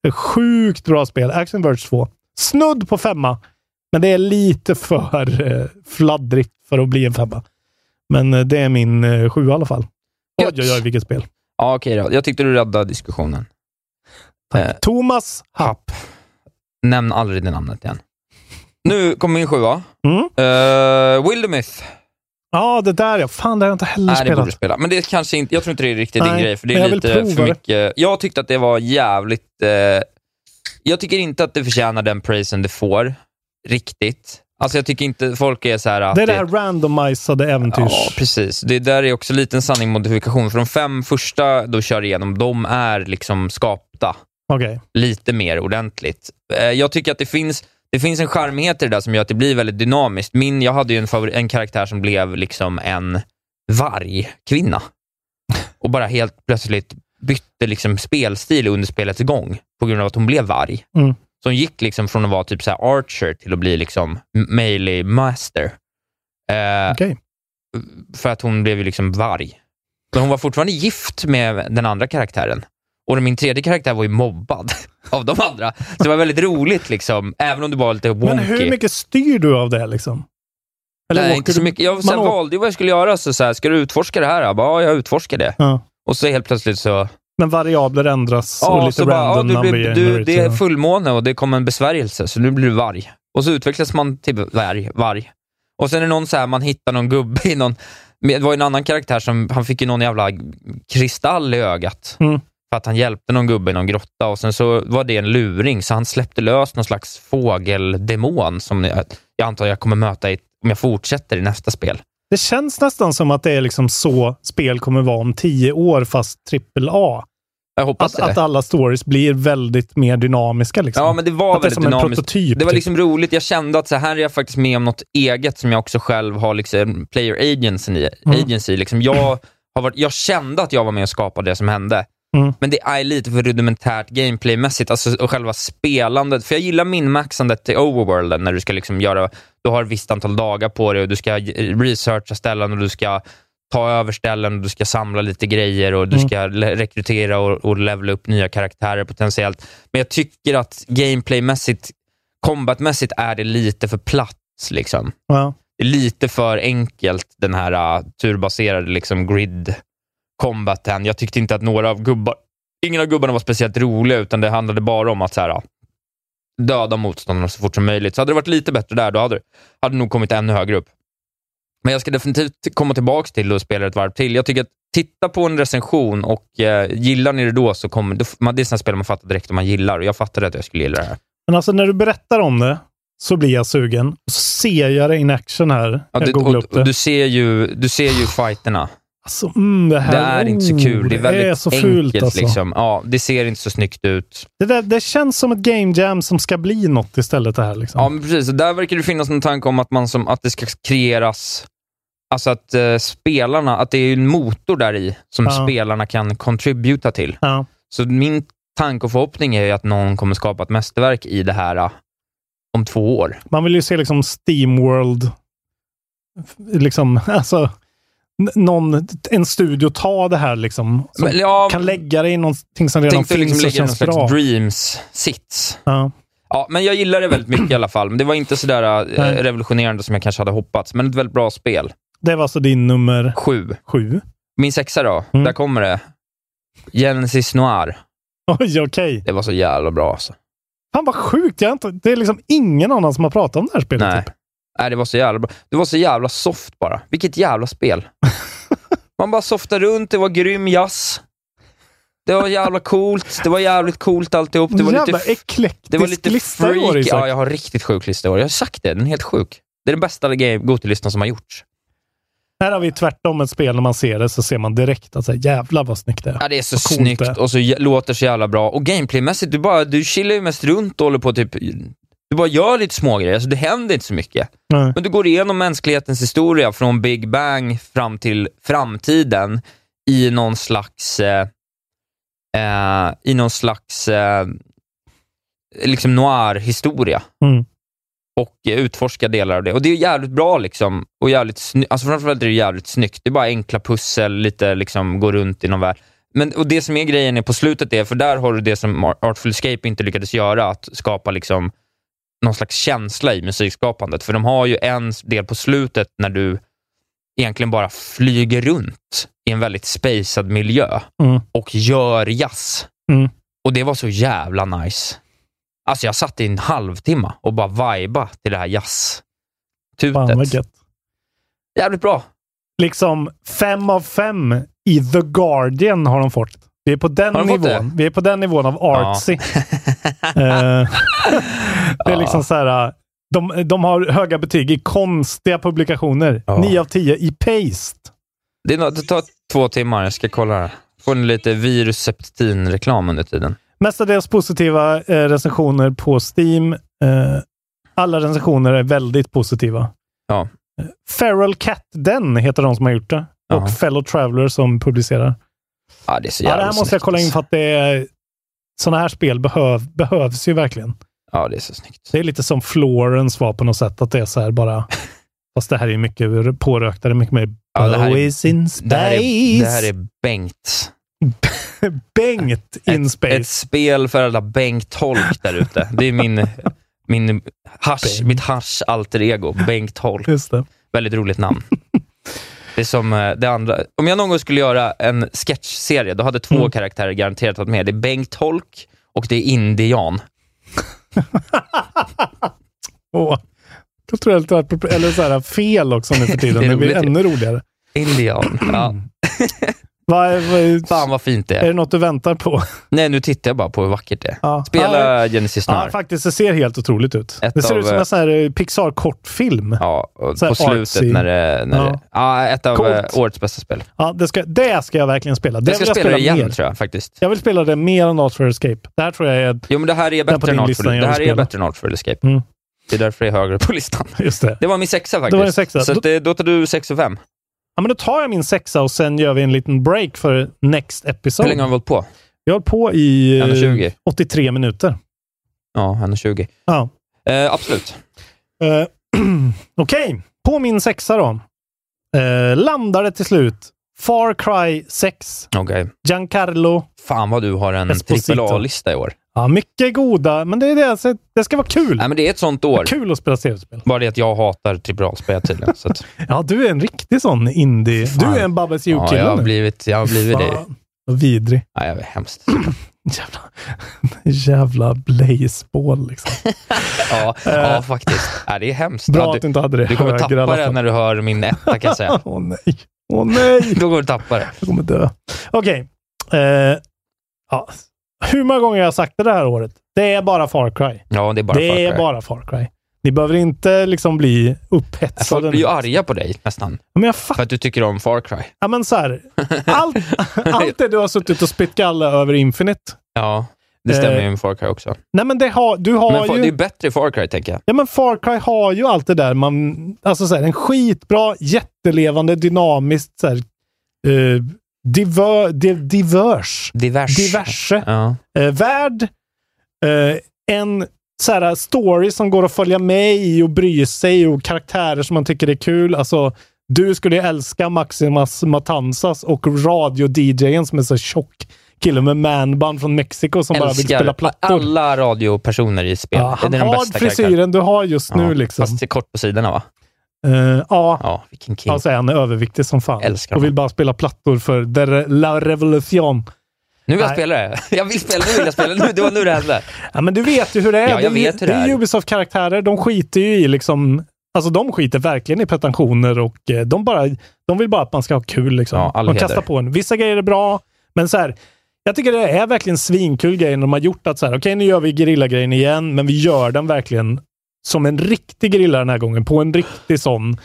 Det är Sjukt bra spel. Action Verge 2. Snudd på femma, men det är lite för eh, fladdrigt för att bli en femma. Men eh, det är min eh, sju i alla fall. Oj,
Gött.
oj, oj, vilket spel.
ja okej då. Jag tyckte du räddade diskussionen. Eh,
Thomas Happ.
nämn aldrig det namnet igen. Nu kommer min sjua.
Mm.
Uh, Wildermyth.
Ja, det där ja. Fan, det har jag inte heller
Nej, det borde
spelat.
du spela. Men det är kanske inte, jag tror inte det är riktigt din
Nej,
grej, för det
men
är
jag vill
lite
prova
för
det.
mycket. Jag tyckte att det var jävligt... eh, jag tycker inte att det förtjänar den praisen det får, riktigt. Alltså jag tycker inte folk är så här... att
det är det här randomiserade äventyrs...
Ja, precis. Det där är också lite en sanning modifikation, för de fem första du kör igenom, de är liksom skapta
Okej.
lite mer ordentligt. Eh, Jag tycker att det finns, det finns en charmighet i det där som gör att det blir väldigt dynamiskt. Min, jag hade ju en, favori, en karaktär som blev liksom en vargkvinna och bara helt plötsligt bytte liksom spelstil under spelets gång på grund av att hon blev varg.
Mm.
Så hon gick liksom från att vara typ så här archer till att bli liksom m- melee master. Eh,
Okej.
För att hon blev ju liksom varg. Men hon var fortfarande gift med den andra karaktären. Och min tredje karaktär var ju mobbad av de andra. Så det var väldigt roligt, liksom, även om det var lite wonky.
Men hur mycket styr du av det liksom?
Nej,
åker
inte så
du-
mycket. Jag
man
sen
åker-
valde ju vad jag skulle göra. Så, så här, ska du utforska det här? Jag bara, ja, jag utforskar det.
Ja.
Och så helt plötsligt så...
Men variabler ändras och
Ja,
lite
så bara, ja,
random
du,
number
blir, du, det är
generator.
fullmåne och det kommer en besvärjelse, så nu blir du varg. Och så utvecklas man till varg. varg. Och sen är det någon så här, man hittar någon gubbe i någon... men Det var ju en annan karaktär som, han fick ju någon jävla kristall i ögat.
Mm.
För att han hjälpte någon gubbe i någon grotta och sen så var det en luring, så han släppte lös någon slags fågeldemon som jag, jag antar jag kommer möta i, om jag fortsätter i nästa spel.
Det känns nästan som att det är liksom så spel kommer vara om tio år, fast AAA.
Jag hoppas
Att,
det.
att alla stories blir väldigt mer dynamiska. Liksom.
Ja, men det var
att det är
väldigt
som en
dynamiskt.
prototyp.
Det var
typ.
liksom roligt. Jag kände att så här är jag faktiskt med om något eget som jag också själv har liksom player agency, i-
Mm.
agency. Liksom jag, har varit, jag kände att jag var med och skapade det som hände.
Mm.
Men det är lite för rudimentärt gameplaymässigt, alltså och själva spelandet. För jag gillar minmaxandet till overworlden, när du ska liksom göra, du har ett visst antal dagar på dig och du ska eh, researcha ställen och du ska ta över ställen och du ska samla lite grejer och du
Mm.
ska le- rekrytera och, och levla upp nya karaktärer potentiellt. Men jag tycker att gameplaymässigt, combatmässigt är det lite för platt. Liksom.
ja.
Det är lite för enkelt, den äh, här uh, turbaserade liksom, grid-combaten. Jag tyckte inte att några av gubbar, Ingen av gubbarna var speciellt roliga, utan det handlade bara om att så här, äh, döda motståndarna så fort som möjligt. Så hade det varit lite bättre där, då hade, hade det nog kommit ännu högre upp. Men jag ska definitivt komma tillbaka till det och spela ett varv till. Jag tycker att titta på en recension och eh, gillar ni det då så kommer... Då, man, det är sådana spel man fattar direkt om man gillar och jag fattade att jag skulle gilla det här.
Men alltså när du berättar om det så blir jag sugen. Och så ser jag det in action här.
Ja,
jag
du,
googlar
och,
upp det.
och du ser ju, du ser ju fighterna.
alltså, mm, det, här,
Det är inte så
oh,
kul. Det är väldigt
så
enkelt.
fult alltså.
liksom. ja, det ser inte så snyggt ut.
Det, där, det känns som ett game jam som ska bli något istället det här. Liksom.
Ja, men precis. Och där verkar det finnas en tanke om att, man som, att det ska kreeras... Alltså att eh, spelarna, att det är ju en motor där i som
Ja.
spelarna kan contributa till.
Ja.
Så min tanke och förhoppning är ju att någon kommer skapa ett mästerverk i det här eh, om två år.
Man vill ju se liksom Steamworld. f- Liksom, alltså, n- någon, en studio ta det här liksom. Som
Men, ja,
kan lägga det i någonting som redan
tänkte
finns
liksom
och
lägga någon
känns
slags
bra.
dreams-sits.
Ja.
Ja, men jag gillar det väldigt mycket i alla fall. Men det var inte sådär eh,
Nej.
revolutionerande som jag kanske hade hoppats, men ett väldigt bra spel.
Det var alltså din nummer
Sju.
sju.
Min sexa då,
Mm.
där kommer det. Genesis Noir.
Oj, okej.
Det var så jävla bra alltså.
Fan vad sjukt. Jag har inte, det är liksom ingen annan som har pratat om det här spelet.
Nej.
Typ.
Nej, det var så jävla bra. Det var så jävla soft bara. Vilket jävla spel. Man bara softade runt, det var grym jazz. Det var jävla coolt. Det var jävligt coolt alltihop. Det var
Jävla
lite,
eklektisk
det var lite
lista i år,
freak.
Isak.
Ja, jag har riktigt sjuk lista i år. Jag har sagt det. Den är helt sjuk. Det är den bästa game- Gotilistan som har gjorts.
Här har vi tvärtom ett spel. När man ser det så ser man direkt att så här, jävlar vad snyggt det är.
Ja, det är så
Vad coolt
snyggt
det är.
och så jä- låter så jävla bra. Och gameplaymässigt, du, bara, du chillar ju mest runt och håller på typ... Du bara gör lite smågrejer, alltså det händer inte så mycket.
Nej.
Men du går igenom mänsklighetens historia från Big Bang fram till framtiden i någon slags... Eh, eh, I någon slags... Eh, liksom noir-historia.
Mm.
Och eh, utforska delar av det. Och det är jävligt bra liksom. Och jävligt sny- alltså framförallt är det jävligt snyggt. Det är bara enkla pussel, lite liksom gå runt i någon värld. Men, och det som är grejen är på slutet är, för där har du det som Ar- Artful Escape inte lyckades göra, att skapa liksom någon slags känsla i musikskapandet. För de har ju en del på slutet när du egentligen bara flyger runt i en väldigt spacad miljö
Mm.
och gör jazz.
Mm.
Och det var så jävla nice. Alltså jag satt i en halvtimme och bara viba till det här
Fan vad
jazz-tutet.
gött.
Jävligt bra.
Liksom fem av fem i The Guardian har de fått. Vi är på den
Har de fått
nivån. Vi är på den nivån av artsy. Eh, det är liksom så här. eh, De, de har höga betyg i konstiga publikationer.
Ja.
nio 9 av 10 i Paste.
Det, är nå- det tar två timmar, jag ska kolla här. Får ni lite virusseptin-reklam under tiden?
Mestadels positiva eh, recensioner på Steam. Eh, alla recensioner är väldigt positiva.
Ja.
Eh, Feral Cat Den heter de som har gjort det.
Ja.
Och Fellow Traveler som publicerar.
Ja, det är så
Ja,
jävla
det här måste jag
snyggt,
kolla in
alltså.
för att det är, sådana här spel behöv, behövs ju verkligen.
Ja, det är så snyggt.
Det är lite som Florence var på något sätt. Att det är så här bara... fast det här är ju mycket påröktare, mycket mer
Ja, det här är-
Bowies in
Det här, är, det här
space.
är Bengt.
Bengt in space.
Ett spel för alla Bengt-tolk där ute. Det är min, min hasch,
Bengt.
mitt hasch-alter ego, Bengt-tolk.
Just det.
Väldigt roligt namn. Det är som eh, det andra. Om jag någon gång skulle göra en sketchserie, då hade två
Mm.
karaktärer garanterat varit med. Det är Bengt-tolk och det är Indian.
Åh. Kulturellt apropri- eller så här, fel också nu för tiden.
Det är
Det blir
roligt, ja.
ännu roligare. Mm.
Indian. Ja,
Va, va,
fan vad fint det
är
är.
det något du väntar på?
Nej, nu tittar jag bara på hur vackert det är.
Ja. Ja,
Spela Genesis
ja,
Snar.
faktiskt, det ser helt otroligt ut.
Ett
det ser
av,
ut som en sån här eh, Pixar-kortfilm. Ja.
Ja, och
Så här
på
artsy.
slutet när det... När
Ja.
det ja, ett av
Coolt.
eh, årets bästa spel.
det, ska, det ska jag verkligen spela. Det
Jag ska
vill jag
spela det igen,
mer.
tror jag faktiskt.
Jag vill spela det mer än Art for Escape. Det här tror jag är...
Jo, men det här är
Där på
bättre än
din
Artful.
lista jag
Det här
vill
är
spela.
bättre än Artful Escape.
Mm.
Det är därför det är högre på listan.
Just det.
Det var min sexa faktiskt.
din sexa.
Så att, eh, då tar du sex och fem.
Ja, men då tar jag min sexa och sen gör vi en liten break för next
Hur länge har
episode.
vi hållit på?
Vi har hållit på i eh,
1.20.
83 minuter.
Ja, han är 20.
Ja.
Eh, absolut.
Eh, Okej, på min sexa då. Eh, landar det till slut. Far Cry 6,
Okej.
Giancarlo.
Fan vad du har en
Esposito.
AAA-lista i år.
Ja, mycket goda, men det är det. alltså, Det ska vara kul.
Nej, men det är ett sånt
Det är
år.
kul att spela tv-spel.
Bara det att jag hatar AAA-spel tydligen. Så att,
Ja, du är en riktig sån indie.
Fan.
Du är en Babbes
ja,
You-kille
jag har
nu.
blivit, jag har blivit det.
Fan. Och Vidrig.
Nej, jag vet, hemskt.
Jävla, jävla blazeball liksom.
Ja, ja faktiskt. Nej, det är hemskt.
Eh. Bra
Ja,
att du
du,
inte hade det
du kommer
högre i
tappa
alla
det
fall.
när du hör min etta kan jag säga.
Åh nej. Åh nej.
Då går du tappa det.
Jag kommer dö. Okej. Eh, ja. Hur många gånger har jag sagt det det här året? Det är bara Far Cry.
Ja, det är bara
det
Far Cry.
är bara Far Cry. Ni behöver inte liksom bli upphetsade.
Folk blir ju
nu.
arga på dig nästan,
men jag fattar.
för att du tycker om Far Cry.
Ja, men så här, allt, allt det du har suttit och spytt galla över Infinite.
Ja, det
Eh,
stämmer ju med Far Cry också.
Nej, men det har, du har
Men Far,
ju...
det är bättre i Far Cry, tänker jag.
Ja, men Far Cry har ju allt det där man... Alltså så här, en skitbra, jättelevande, dynamiskt så här, eh, diver, di, divers,
Divers.
diverse
Ja.
eh, värld. Eh, en så här, story som går att följa med i och bry sig och karaktärer som man tycker är kul. Alltså, du skulle ju älska Maximas Matanzas och radio-DJen som är så tjock kille med manband från Mexiko som bara vill
Älskar
spela plattor.
alla radiopersoner i spel.
Ja, han
det är den
har
bästa
frisyren
karaktären.
du har just nu.
Ja,
Liksom.
Fast det är kort på sidorna, va?
Eh, ja,
Ja, vilken king.
alltså han är överviktig som fan.
Älskar
och
honom.
vill bara spela plattor för The Re- La Revolution.
nu vill jag
nej.
spela det. Jag vill spela, nu vill jag spela. Nu, det var nu det hände.
Ja, men du vet ju hur det är.
Ja, jag
det, är ju-
vet hur det
är
är.
Ubisoft-karaktärer. De skiter ju i liksom... Alltså de skiter verkligen i pretensioner och eh, de, bara, de vill bara att man ska ha kul. Liksom.
Ja, all
de
heder.
kastar på en. Vissa grejer är bra, men så här, jag tycker det är verkligen svinkul grejer när de har gjort att så här, okej nu gör vi gerillagrejen igen, men vi gör den verkligen som en riktig gerilla den här gången. På en riktig sån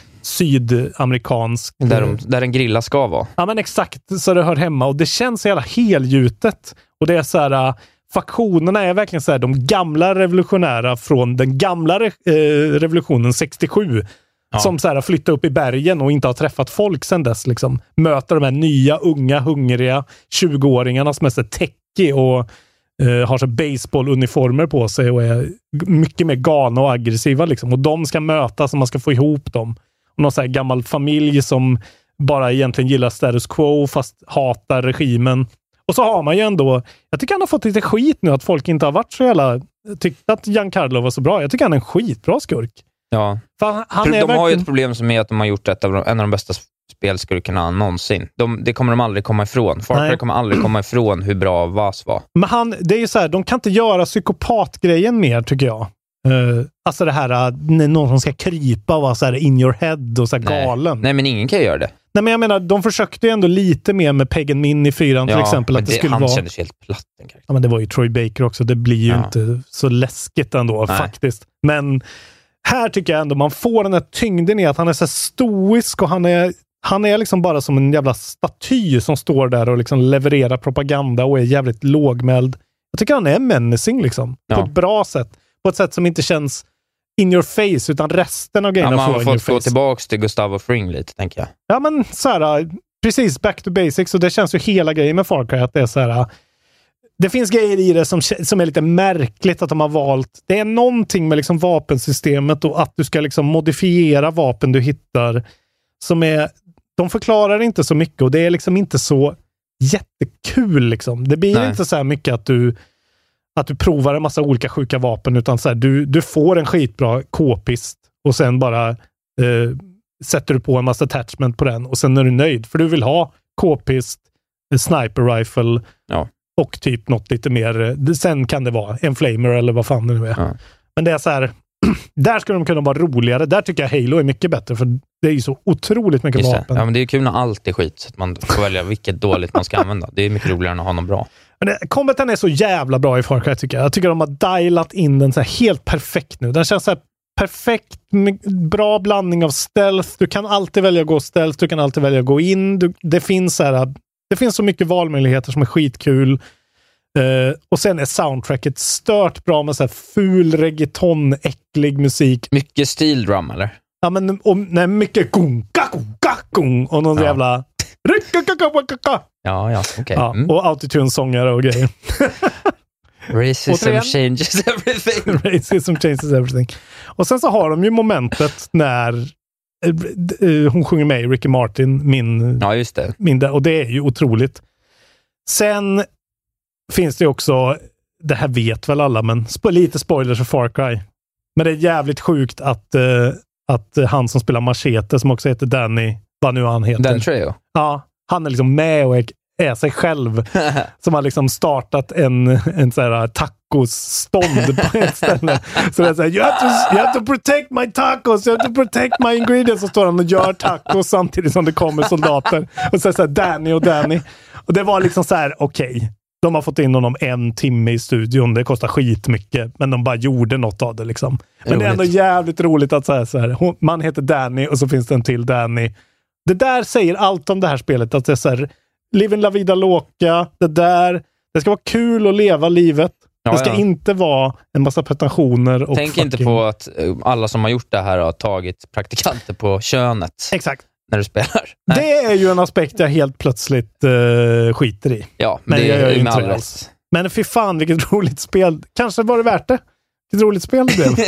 sydamerikansk...
Där, de, där en grilla ska vara.
Ja, men exakt så det hör hemma och det känns så jävla helgjutet. Och det är så här, äh, faktionerna är verkligen så här, de gamla revolutionära från den gamla re- eh, revolutionen 67. Som så här, flyttar upp i bergen och inte har träffat folk sedan dess. Liksom. Möter de här nya, unga, hungriga 20-åringarna som är så techie och eh, har så här baseballuniformer på sig och är g- mycket mer galna och aggressiva. Liksom. Och de ska mötas och man ska få ihop dem. Och någon så här gammal familj som bara egentligen gillar status quo fast hatar regimen. Och så har man ju ändå, jag tycker han har fått lite skit nu att folk inte har varit så jävla, tyckt att Giancarlo var så bra. Jag tycker han är en skitbra skurk.
Ja.
För han, han är
de har ju
verkligen...
ett problem som är att de har gjort ett av de, en av de bästa spelskurkarna någonsin. De, det kommer de aldrig komma ifrån. Far
Nej. Mm.
Cry kommer aldrig komma ifrån hur bra Vas var.
Men han, det är ju så här, de kan inte göra psykopatgrejen mer, tycker jag. Eh, alltså det här eh, när någon som ska krypa och vara så här in your head och så här
Nej.
galen. Nej.
Nej, men ingen kan göra det.
men jag menar, de försökte ju ändå lite mer med Peg and Min i fyran till
Ja,
exempel.
men
Att det, skulle
han
vara...
kändes helt platt. Den karaktären.
Ja, men det var ju Troy Baker också. Det blir ju
Ja.
inte så läskigt ändå
Nej.
faktiskt. Men här tycker jag ändå man får den här tyngden i att han är så här stoisk och han är, han är liksom bara som en jävla staty som står där och liksom levererar propaganda och är jävligt lågmäld. Jag tycker han är menacing liksom. På
Ja.
ett bra sätt. På ett sätt som inte känns in your face, utan resten av
Ja,
grejerna
man
får
har
in your
fått gå
face.
tillbaka till Gustavo Fring lite, tänker jag.
Ja, men så här, äh, precis back to basics. Och det känns ju hela grejen med Far Cry att det är så här. äh, Det finns grejer i det som, kä- som är lite märkligt att de har valt. Det är någonting med liksom vapensystemet och att du ska liksom modifiera vapen du hittar som är... De förklarar inte så mycket och det är liksom inte så jättekul. Liksom. Det blir
Nej.
inte så här mycket att du att du provar en massa olika sjuka vapen, utan så här, du, du får en skitbra k-pist och sen bara eh, sätter du på en massa attachment på den och sen är du nöjd. För du vill ha k-pist, en sniper rifle
Ja.
och typ något lite mer. eh, det- Sen kan det vara en flamer eller vad fan det nu är.
Ja.
Men det är så här, där skulle de kunna vara roligare. Där tycker jag Halo är mycket bättre, för det är ju så otroligt mycket
Just det.
vapen.
Ja, men det är ju kul när allt är skit, så att man får välja vilket dåligt man ska använda. Det är mycket roligare än att ha något bra.
Men det, combaten är så jävla bra i Far Cry tycker jag. Jag tycker de har dialat in den så här helt perfekt nu. Den känns så här perfekt, m- bra blandning av stealth. Du kan alltid välja att gå stealth, du kan alltid välja att gå in. Du, det, finns så här, det finns så mycket valmöjligheter som är skitkul. Eh, och sen är soundtracket stört bra med så här ful reggaeton, äcklig musik.
Mycket steel drum, eller?
Ja, men och, nej, mycket gunka, gunka, gung och någon
Ja.
jävla...
Ja, ja, okej.
Ja,
Mm.
och autotune-sångare och grejer.
Racism
Återigen.
changes everything.
Racism changes everything. Och sen så har de ju momentet när eh, d- eh, hon sjunger med i Ricky Martin, min,
Ja, just det.
min där, och det är ju otroligt. Sen finns det ju också, det här vet väl alla, men spo- lite spoilers för Far Cry. Men det är jävligt sjukt att, eh, att eh, han som spelar Machete, som också heter Danny, vad nu han heter.
Den Treo.
Ja, han är liksom med och är är sig själv. Som har liksom startat en, en så här uh, tacosstånd på ett ställe. Så det är så här, you have, to, you have to protect my tacos, you have to protect my ingredients. Så står han och gör tacos samtidigt som det kommer soldater. Och så är det så här, Danny och Danny. Och det var liksom så här, okej. De har fått in honom en timme i studion. Det kostar skitmycket, men de bara gjorde något av det. Liksom. Men det är ändå
Roligt.
jävligt roligt att säga så här. Hon, man heter Danny och så finns det en till Danny. Det där säger allt om det här spelet. Att det är så här, live in la vida loca. Det där. Det ska vara kul att leva livet.
Ja,
det ska
ja.
inte vara en massa pretensioner. Och
Tänk inte
fucking-
på att eh, alla som har gjort det här har tagit praktikanter på könet
Exakt.
när du spelar. Nej,
Det är ju en aspekt jag helt plötsligt eh, skiter i.
ja,
Nej,
det
jag gör
är
ju
ju med
inte
all
det
rätt.
alls. Men fy fan vilket roligt spel. Kanske var det värt det. Vilket roligt spel det blev.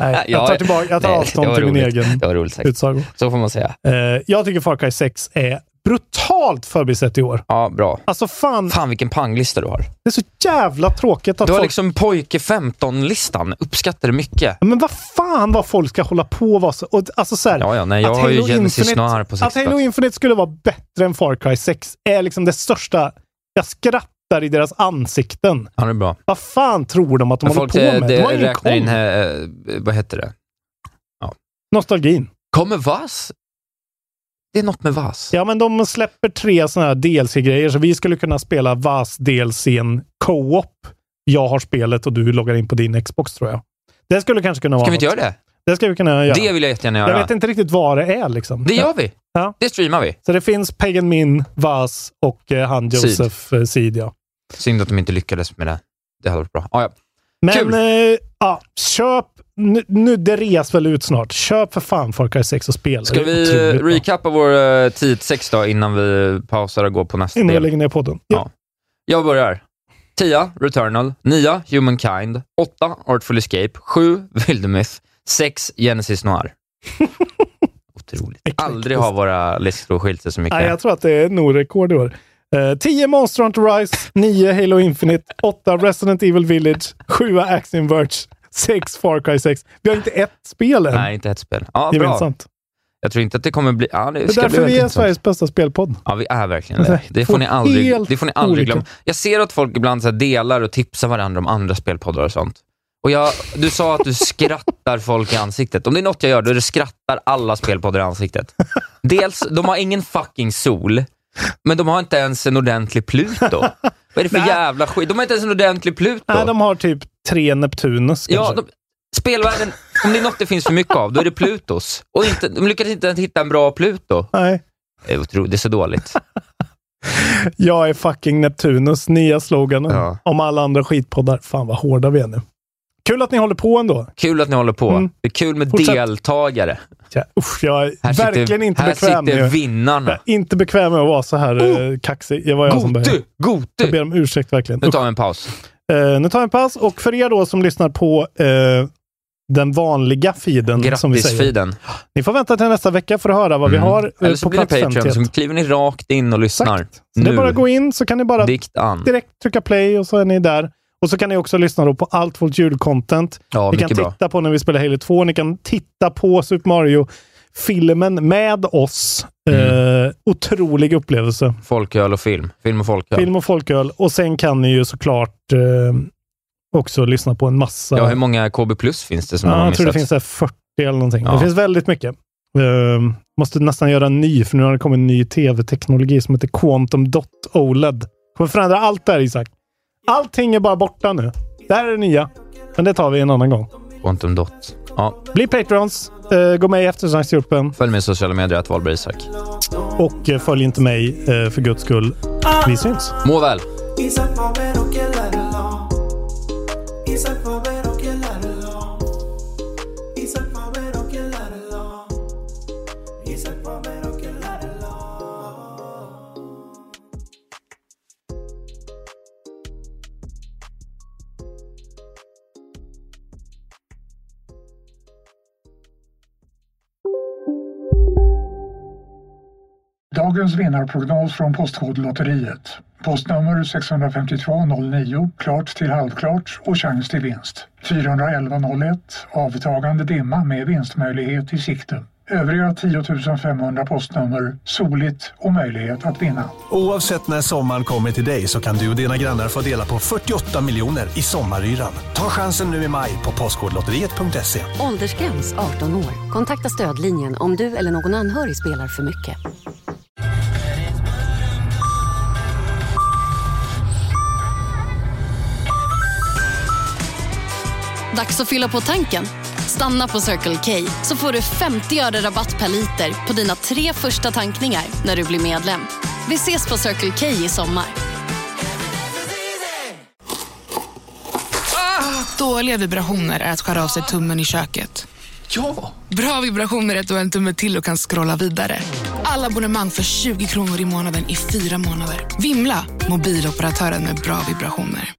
Nej, jag tar, tillbaka, jag tar
Nej, det
avstånd
var
till min
roligt.
egen
Det var roligt sagt.
utsago.
Så får man säga.
Eh, jag tycker Far Cry 6 är brutalt förbisett i år.
Ja, bra.
Alltså fan,
Fan vilken panglista du har.
det är så jävla tråkigt att
Du har
folk...
liksom pojke 15-listan. Uppskattar det mycket.
Men vad fan vad folk ska hålla på och vara så... Och, alltså så här,
Ja, ja, nej, jag
att
har ju
Halo
Genesis
Infinite-
Noir på
Att
sista
Halo
plats.
Infinite skulle vara bättre än Far Cry 6 är liksom det största... Jag skrattar i deras ansikten.
Ja, det är bra.
Vad fan tror de att de
Men
håller
folk
på
eh,
med? De har
det,
ingen
räknar
koll.
in, eh, vad heter det?
Nostalgin.
Kommer VAS? Det är något med VAS.
Ja, men de släpper tre sådana här DLC-grejer, så vi skulle kunna spela VAS DLCn Co-op. Jag har spelet och du loggar in på din Xbox, tror jag. Det skulle kanske kunna vara
Ska vi
något.
inte göra det?
Det ska vi kunna göra.
Det vill jag jättegärna
jag
göra.
vet inte riktigt vad det är liksom.
Det gör vi.
Ja.
Det streamar vi.
Så det finns Pagan Min, VAS och eh, han
Sid.
Josef eh, Sid, ja.
Synd att de inte lyckades med det. Det hade varit bra. Ah, ja.
Men
Kul.
eh, ja, köp. Nu, nu, det reas väl ut snart. Köp för fan Far Cry 6 och spela.
Ska
Det är
vi
otroligt bra.
recappa vår eh, 10 till 6 då innan vi pausar och går på nästa
Innan jag
del?
lägger ner podden. Ja.
Ja. Jag börjar. 10. Returnal. 9. Humankind. 8. Artful Escape. 7. Wildemyth. 6. Genesis Noir. Otroligt. Aldrig har våra listor skilt sig så mycket.
Nej, jag tror att det är nog rekord i år. Eh, 10 Monster Hunter Rise, 9 Halo Infinite, 8 Resident Evil Village, 7 Axiom Verge, 6 Far Cry 6. Vi har inte ett spel än.
Nej, inte ett spel. Ja, bra.
gemensamt.
Jag tror inte att det kommer bli... Ja, det
Det är
ska bli
därför
väldigt
vi är
intressant.
Sveriges bästa spelpodd.
Ja, vi är verkligen det.
Nej,
Det
två
får ni aldrig,
Alltså, helt
det får ni aldrig
olika.
glömma. Jag ser att folk ibland så här delar och tipsar varandra om andra spelpoddar och sånt. Och jag, du sa att du skrattar folk i ansiktet. Om det är något jag gör, då är det skrattar alla spelpoddar i ansiktet. Dels, de har ingen fucking sol, men de har inte ens en ordentlig Pluto. Vad är det för jävla skit? De har inte ens en ordentlig Pluto.
Nej, de har typ tre Neptunus
ja,
kanske.
de, spelvärlden, om det är något det finns för mycket av, då är det Plutos. Och inte, de lyckas inte ens hitta en bra Pluto.
Nej,
Det är, otro, det är så dåligt.
jag är fucking Neptunus. Nya sloganen.
Ja.
Om alla andra skitpoddar. Fan vad hårda vi är nu. Kul att ni håller på ändå.
Kul att ni håller på.
Mm.
Det är kul med
Fortsätt.
deltagare.
Ja, Usch, jag är
Här
verkligen
sitter,
inte
här
bekväm med
sitter
jag
vinnarna.
är inte bekväm med att vara så här
Oh!
eh, kaxig. Det var jag som började.
Gotu!
Jag ber
Gotu!
om ursäkt verkligen.
Nu tar vi en paus.
Eh, nu tar vi en paus och för er då som lyssnar på eh, den vanliga feeden som vi säger.
Grattisfiden.
Ni får vänta till nästa vecka för att höra vad vi har eh,
Mm. Eller så
på
blir det
plats
Patreon,
51.
så kliver ni rakt in och lyssnar.
Exakt. Så det är
Nu.
bara att gå in så kan ni bara
Dikt an.
direkt trycka play och så är ni där. Och så kan ni också lyssna då på allt vårt julcontent.
Ja,
ni kan
mycket bra.
titta på när vi spelar Halo 2. Ni kan titta på Super Mario-filmen med oss.
Mm.
Eh, otrolig upplevelse.
Folköl och film. Film och folköl.
Film och folköl. Och sen kan ni ju såklart eh, också lyssna på en massa
Ja, hur många KB plus finns det som man
Ja,
har
jag tror det
missat?
finns så här 40 eller någonting.
Ja.
Det finns väldigt mycket. Ehm, måste nästan göra en ny, för nu har det kommit en ny tv-teknologi som heter Quantum Dot OLED. Kommer förändra allt där Isak. Allting är bara borta nu. Det här är det nya, men det tar vi en annan gång.
Quantum Dot. Ja,
Bli Patrons, eh, gå med i eftersnacksgruppen
följ mig i sociala medier, att Wahlberg Isak.
och eh, följ inte mig eh, för guds skull. Vi syns.
Må väl.
Isak var vero que la reloj. Isak var vero que la reloj. Isak var vero que la reloj. Isak var vero que la reloj.
Dagens vinnarprognos från Postkodlotteriet. Postnummer 65209, klart till halvklart och chans till vinst. 41101, avtagande dimma med vinstmöjlighet i sikte.
Övriga 10 500 postnummer soligt och möjlighet att vinna.
Oavsett när sommaren kommer till dig så kan du och dina grannar få dela på 48 miljoner i sommaryran. Ta chansen nu i maj på Postkodlotteriet.se.
Åldersgräns 18 år. Kontakta stödlinjen om du eller någon anhörig spelar för mycket.
Dags att fylla på tanken. Stanna på Circle K så får du 50 öre rabatt per liter på dina tre första tankningar när du blir medlem. Vi ses på Circle K i sommar.
Dåliga vibrationer är att skära av sig tummen i köket.
Ja!
Bra vibrationer är att du har en tumme till och kan scrolla vidare. Alla abonnemang för 20 kronor i månaden i fyra månader. Vimla! Mobiloperatören med bra vibrationer.